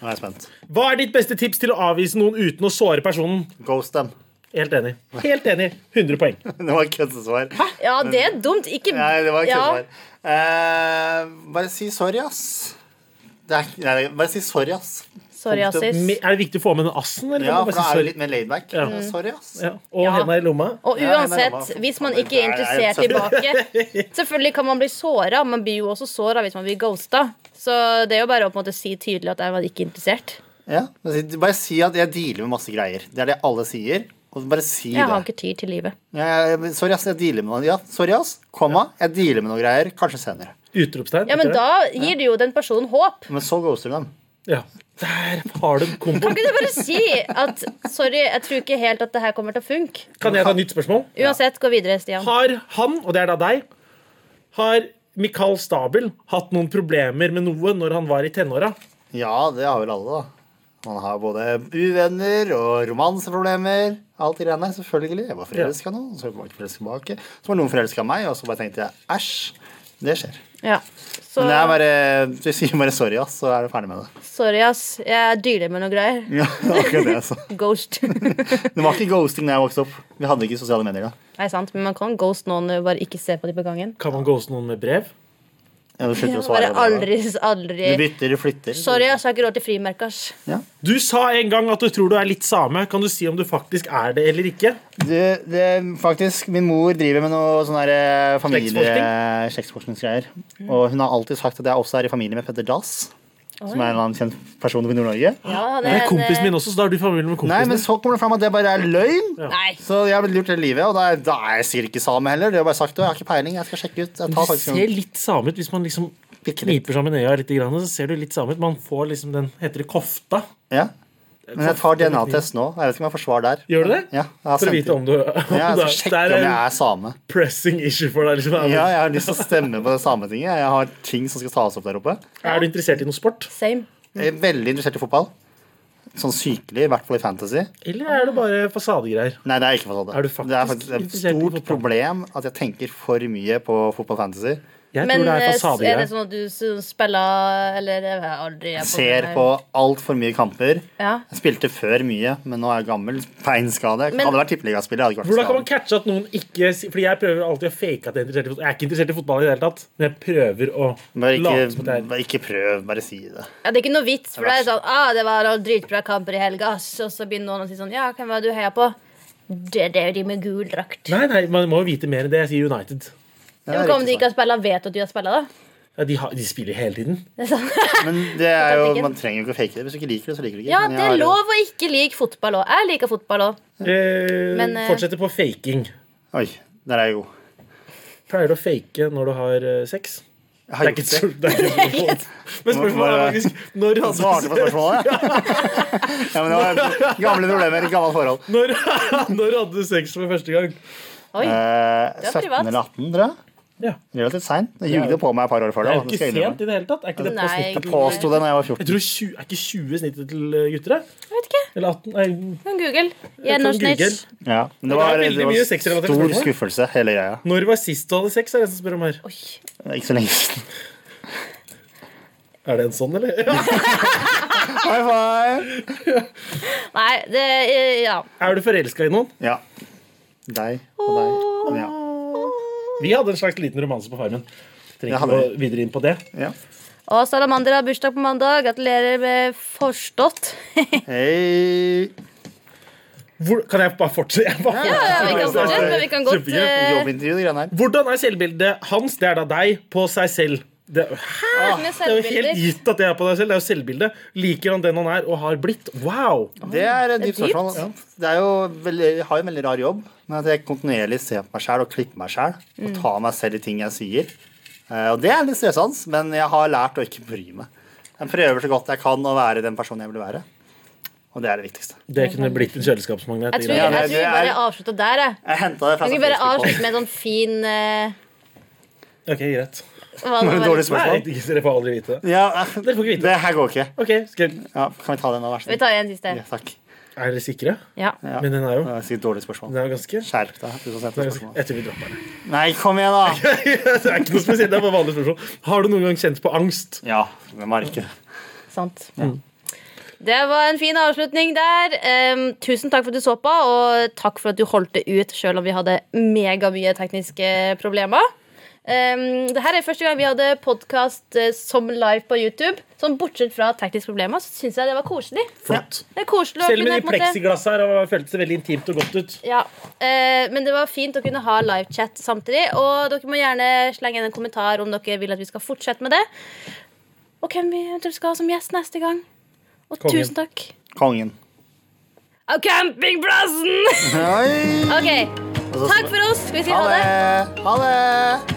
D: Nå er jeg spent.
C: Hva er ditt beste tips til å avvise noen uten å såre personen?
D: Ghost dem.
C: Helt enig. Helt enig. 100 poeng.
D: <laughs> Det var et køddesvar.
B: Ja, det er dumt. Ikke
D: Nei, det var et
B: Ja.
D: køddesvar. Eh, bare si sorry, ass. Det er, ikke- nei, bare si sorry, ass.
B: Sorry,
D: Punktum.
B: Asis.
C: Me- Er det viktig å få med den assen? Eller
D: Ja,
C: kan
D: for
C: man bare
D: da er
C: si
D: det litt mer laidback.
C: Ja.
D: Ja. Sorry, ass.
C: sorry? Ja. Og
B: Ja.
C: henda i lomma?
B: Og
D: Ja, nei, nei,
B: uansett,
D: nei, nei.
B: hvis man ikke er interessert
D: Nei,
B: tilbake Selvfølgelig kan man bli såra, man blir jo også såra hvis man blir ghosta. Så det er jo bare å på en måte si tydelig at jeg var ikke interessert.
D: Ja. Bare si- Bare si at jeg dealer med masse greier. Det er det alle sier. Og bare si
B: Jeg har
D: det.
B: ikke tid til livet.
D: Ja, ja, sorry, ass. Jeg dealer med noe. Ja, sorry, ass. Komma. Jeg dealer med noen greier. Kanskje senere.
C: Utropstegn.
B: Ja, men
C: ikke det?
B: da gir du jo den personen håp.
D: Men så ghoster du dem.
C: ja. Der har du en kombo.
B: Kan ikke du bare si at sorry, jeg tror ikke helt at det her kommer til å funke?
C: Kan jeg ta nytt spørsmål?
B: Uansett, gå videre, Stian.
C: Har han, og det er da deg, har Mikael Stabel hatt noen problemer med noe når han var i tenåra?
D: Ja, det har vel alle, da. Man har både uvenner og romanseproblemer. Alt det greiene der, selvfølgelig. Jeg var forelska nå, så var jeg ikke forelska tilbake. Så var noen forelska meg, og så bare tenkte jeg æsj. Det skjer.
B: Ja. Så
D: Men det er bare, du sier bare sorry, ass, så er du ferdig med det.
B: sorry, ass. Jeg dealer med noe greier.
D: Ja, det var <laughs> akkurat det, altså.
B: Ghost. <laughs>
D: Det var ikke ghosting da jeg vokste opp. Vi hadde ikke sosiale medier da.
B: Nei, sant, men man kan ghost noen, eh, bare ikke se på dem på gangen.
C: Kan man ghoste noen med brev?
D: Ja, du slutter å svare.
B: Bare aldri,
D: Du
B: aldri
D: bytter, du flytter.
B: Sorry, ass, jeg har ikke råd til frimerkers.
C: Du sa en gang at du tror du er litt same. Kan du si om du faktisk er det eller ikke?
D: Du, det, faktisk, min mor driver med noe sånn her eh, familie- slektsforskningsgreier. Og hun har alltid sagt at jeg også er i familie med Petter Dass. Som er en eller annen kjent person i Nord-Norge.
B: Ja,
C: Det er
B: en, eh,
C: kompisen min også, så da er du i familie med
D: Nei, men
C: kompisen.
D: så kommer det fram at det bare er løgn.
B: Nei.
D: Så jeg har blitt lurt hele livet, og da er, da er jeg sikkert ikke same heller. Det har jeg bare sagt, og jeg har ikke peiling, jeg skal sjekke ut. Jeg tar
C: Du
D: faktisk
C: ser
D: noen
C: litt same ut hvis man liksom
D: bitte litt.
C: kniper sammen øya litt, grann, så ser du litt same ut. Man får liksom den Heter det kofta?
D: Ja. Men jeg tar DNA-test nå. Jeg vet ikke om jeg får svar der.
C: Gjør du det?
D: Ja, jeg har
C: For å
D: sendt
C: vite
D: ut.
C: om du <laughs> om
D: Ja,
C: du
D: jeg skal
C: er- Det
D: sjekke om
C: er
D: jeg
C: en
D: er same.
C: pressing issue for deg. Liksom.
D: Ja, jeg har lyst til å stemme på det sametinget. Jeg har ting som skal tas opp der oppe.
C: Er du interessert i noe sport?
B: Same.
D: Jeg er veldig interessert i fotball. Sånn sykelig, i hvert fall i fantasy.
C: Eller er det bare fasadegreier?
D: Nei, det er ikke fasade.
C: Er du faktisk
D: det er faktisk et
C: interessert i
D: stort
C: fotball?
D: problem at jeg tenker for mye på fotball fantasy.
C: Jeg
B: Men
C: tror det
B: eh,
C: er
B: er det
C: fasadegreier.
B: sånn at du s- spiller Eller jeg vet aldri jeg
D: Ser på altfor mye kamper.
B: Ja.
D: Jeg spilte før mye, men nå er jeg gammel. Beinskade.
B: Men-
D: Hadde vært tippeligaspiller, hadde ikke vært
C: Hvordan kan man
D: skadet.
C: catche at noen ikke Fordi jeg prøver alltid å fake at jeg er interessert i fotball. Jeg er ikke interessert i fotball i det hele tatt, men jeg prøver å
D: Bare
C: late som
D: ikke,
C: at jeg er
D: bare ikke prøv, bare si det.
B: Ja, det er ikke noe vits, for det er sånn ah, 'Det var dritbra kamper i helga', ass. og så begynner noen å si sånn 'Ja, hvem var det du heia på?' Det, det er jo de med gul drakt.
C: Nei, nei, man må jo vite mer enn det. Jeg sier United.
D: Det
B: Ja,
D: er
B: men Om
D: riktig
B: de ikke
D: svar.
B: har spilla, vet du at de har spilla, da?
C: Ja, de, har, de spiller hele tiden.
B: Det er sånn.
D: Men det er jo,
B: taktikken.
D: man trenger jo ikke å fake det. Hvis du ikke liker det, så liker du ikke.
B: Ja,
D: Men jeg
B: det
D: har
B: er
D: jo-
B: lov å ikke like fotball òg. Jeg liker fotball òg.
C: Eh,
B: Men, eh,
C: Fortsetter på faking.
D: Oi, der er jeg god.
C: Pleier du å fake når du har eh, sex?
D: Jeg
C: Det
D: har
C: er ikke
D: gjort
C: et
D: det.
C: stort <laughs> det er ikke et spørsmål. Men spørsmålet er faktisk når
D: Han svarte på
C: <laughs>
D: spørsmålet. ja, men det var gamle problemer, gammelt forhold.
C: Når, når <laughs> hadde du sex for første gang?
B: Oi.
D: Eh,
B: Det var
D: 17
B: privat.
D: eller 18, tror jeg.
C: Ja.
D: Relativt seint. Jeg jugde på meg et par år før
C: Det er
D: det. da.
C: jo
D: Det
C: ikke
D: skal jeg innrømme.
C: sent i det hele tatt. Er ikke det
B: Nei,
C: på snittet?
D: Jeg påsto det da jeg var
C: Jeg
D: 14.
C: tror 20, Er ikke 20 snittet til eh, gutter, da?
B: Jeg vet ikke.
C: Eller 18? Nei,
B: Kan google.
C: kan
B: Gjennomsnitt.
C: google.
D: Ja, men det
C: Det er
D: var,
C: veldig
D: det
C: mye
D: var
C: sexrelaterte
D: stor
C: spørsmål.
D: skuffelse, hele greia.
C: når var sist du hadde sex? er det jeg som spør om her.
B: Oi.
D: Det er Ikke så lenge
C: <laughs>
D: siden.
C: Er det en sånn, eller? <laughs>
D: High five!
B: Nei, det eh, Ja.
C: Er du forelska i noen?
D: Ja. Deg og deg. Ja.
C: Vi hadde en slags liten romanse på Farmen.
D: Det
C: Trenger
D: hadde
C: ikke gå videre inn på det.
D: ja.
B: Og Salamander har bursdag på mandag. Gratulerer med forstått.
D: Hei.
C: Hvor, kan jeg bare fortsette? <laughs> Jeg bare
B: Ja, ja, vi kan fortsette, men vi kan godt
C: Kjempegøy.
B: eh,
D: Jobbintervju, de greiene her.
C: Hvordan er selvbildet hans, det er da deg, på seg selv? Det, hæ?
B: med
C: det er jo
B: selvbilder.
C: helt gitt at det er på deg selv. Det er jo selvbildet. Liker han den han er og har blitt? Wow!
D: Det er et dypt
B: dypt.
D: spørsmål. ja. Det er jo veldig, jeg har jo en veldig rar jobb, men at jeg kontinuerlig ser på meg sjæl og klipper meg sjæl
B: Mm.
D: og tar meg selv i ting jeg sier. Eh, Og det er litt stressende, men jeg har lært å ikke bry meg. Jeg prøver så godt jeg kan å være den personen jeg vil være. Og det er det viktigste.
C: Det kunne blitt en kjøleskapsmagnet.
B: Jeg tror,
D: Ja,
B: jeg tror
D: det-
B: vi
D: det
B: bare
D: er-
B: avslutter der, jeg.
D: Jeg henta det fra
B: Kan vi
D: sånn
B: ikke bare
D: Facebook-post.
B: avslutte med en sånn fin eh,
C: Ok, greit.
B: hva
D: Var det et <laughs> dårlig
C: Nei,
D: spørsmål?
C: dere får aldri vite det.
D: Ja, <laughs>
C: Dere får ikke vite det.
D: det her går ikke.
C: Ok, skal,
D: Ja, kan vi ta den, da? Vær så
B: Vi
D: snill.
B: tar en siste.
D: Ja, takk.
C: Er dere sikre?
B: Ja.
D: Ja.
C: Men den er jo
D: Det var sikkert et dårlig spørsmål.
C: Den er jo ganske den
D: Skjerp deg. du som sendte
C: er ganske-
D: spørsmålet.
C: Jeg tror vi dropper den. <laughs>
D: Nei, kom igjen, <laughs> da!
C: Det er ikke noe spesielt, det er bare vanlig spørsmål. Har du noen gang kjent på angst?
D: Ja, hvem har ikke det?
B: Sant. Det var en fin avslutning der. Em, tusen takk for at du så på, og takk for at du holdt det ut selv om vi hadde megamye tekniske problemer. Um, det her er første gang vi hadde podkast som live på YouTube. Sånn Bortsett fra tekniske problemer, så syns jeg det var koselig.
C: Flott.
B: Det er koselig å
C: Selv
B: kunne
C: med de
B: på en måte-
C: pleksiglassene her og føltes det veldig intimt og godt ut.
B: Ja, eh, Men det var fint å kunne ha livechat samtidig. Og dere må gjerne slenge inn en kommentar om dere vil at vi skal fortsette med det. Og hvem vi eventuelt skal ha som gjest neste gang. Og
C: Kongen.
B: tusen takk.
D: Kongen.
B: Av campingplassen! <laughs>
D: Oi!
B: OK. Takk for oss. Vi sier
D: Ha
B: ha det.
D: det! Ha det!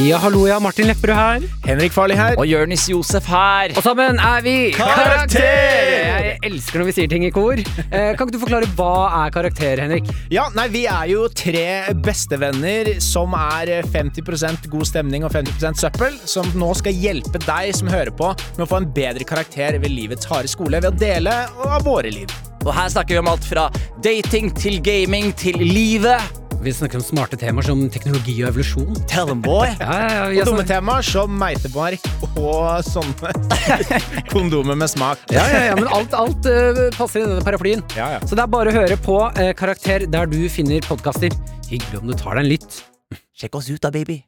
F: Ja, hallo, ja. Martin Lepperød her.
G: Henrik Farley her.
H: Og Jørnis Josef her.
F: Og sammen er vi Jeg elsker når vi sier ting i kor. Eh, kan ikke du forklare hva er karakter, Henrik?
G: Ja, nei, Vi er jo tre bestevenner som er eh, 50 god stemning og 50 søppel, som nå skal hjelpe deg som hører på, med å få en bedre karakter ved livets harde skole ved å dele av våre liv.
H: Og her snakker vi om alt fra dating til gaming til livet.
F: Vi snakker om smarte temaer som teknologi og evolusjon.
H: Tell them,
G: <laughs>
H: boy.
F: Ja, ja, ja, vi
G: Og
F: er
G: dumme
F: sånn-
G: temaer som meitemark og <laughs> sånne kondomer med smak.
F: ja, ja, ja, men alt, alt eh, passer i denne paraplyen.
G: Ja, ja.
F: Så det er bare å høre på eh, Karakter der du finner podkaster. Hyggelig om du tar deg en lytt.
H: Sjekk oss ut da, baby.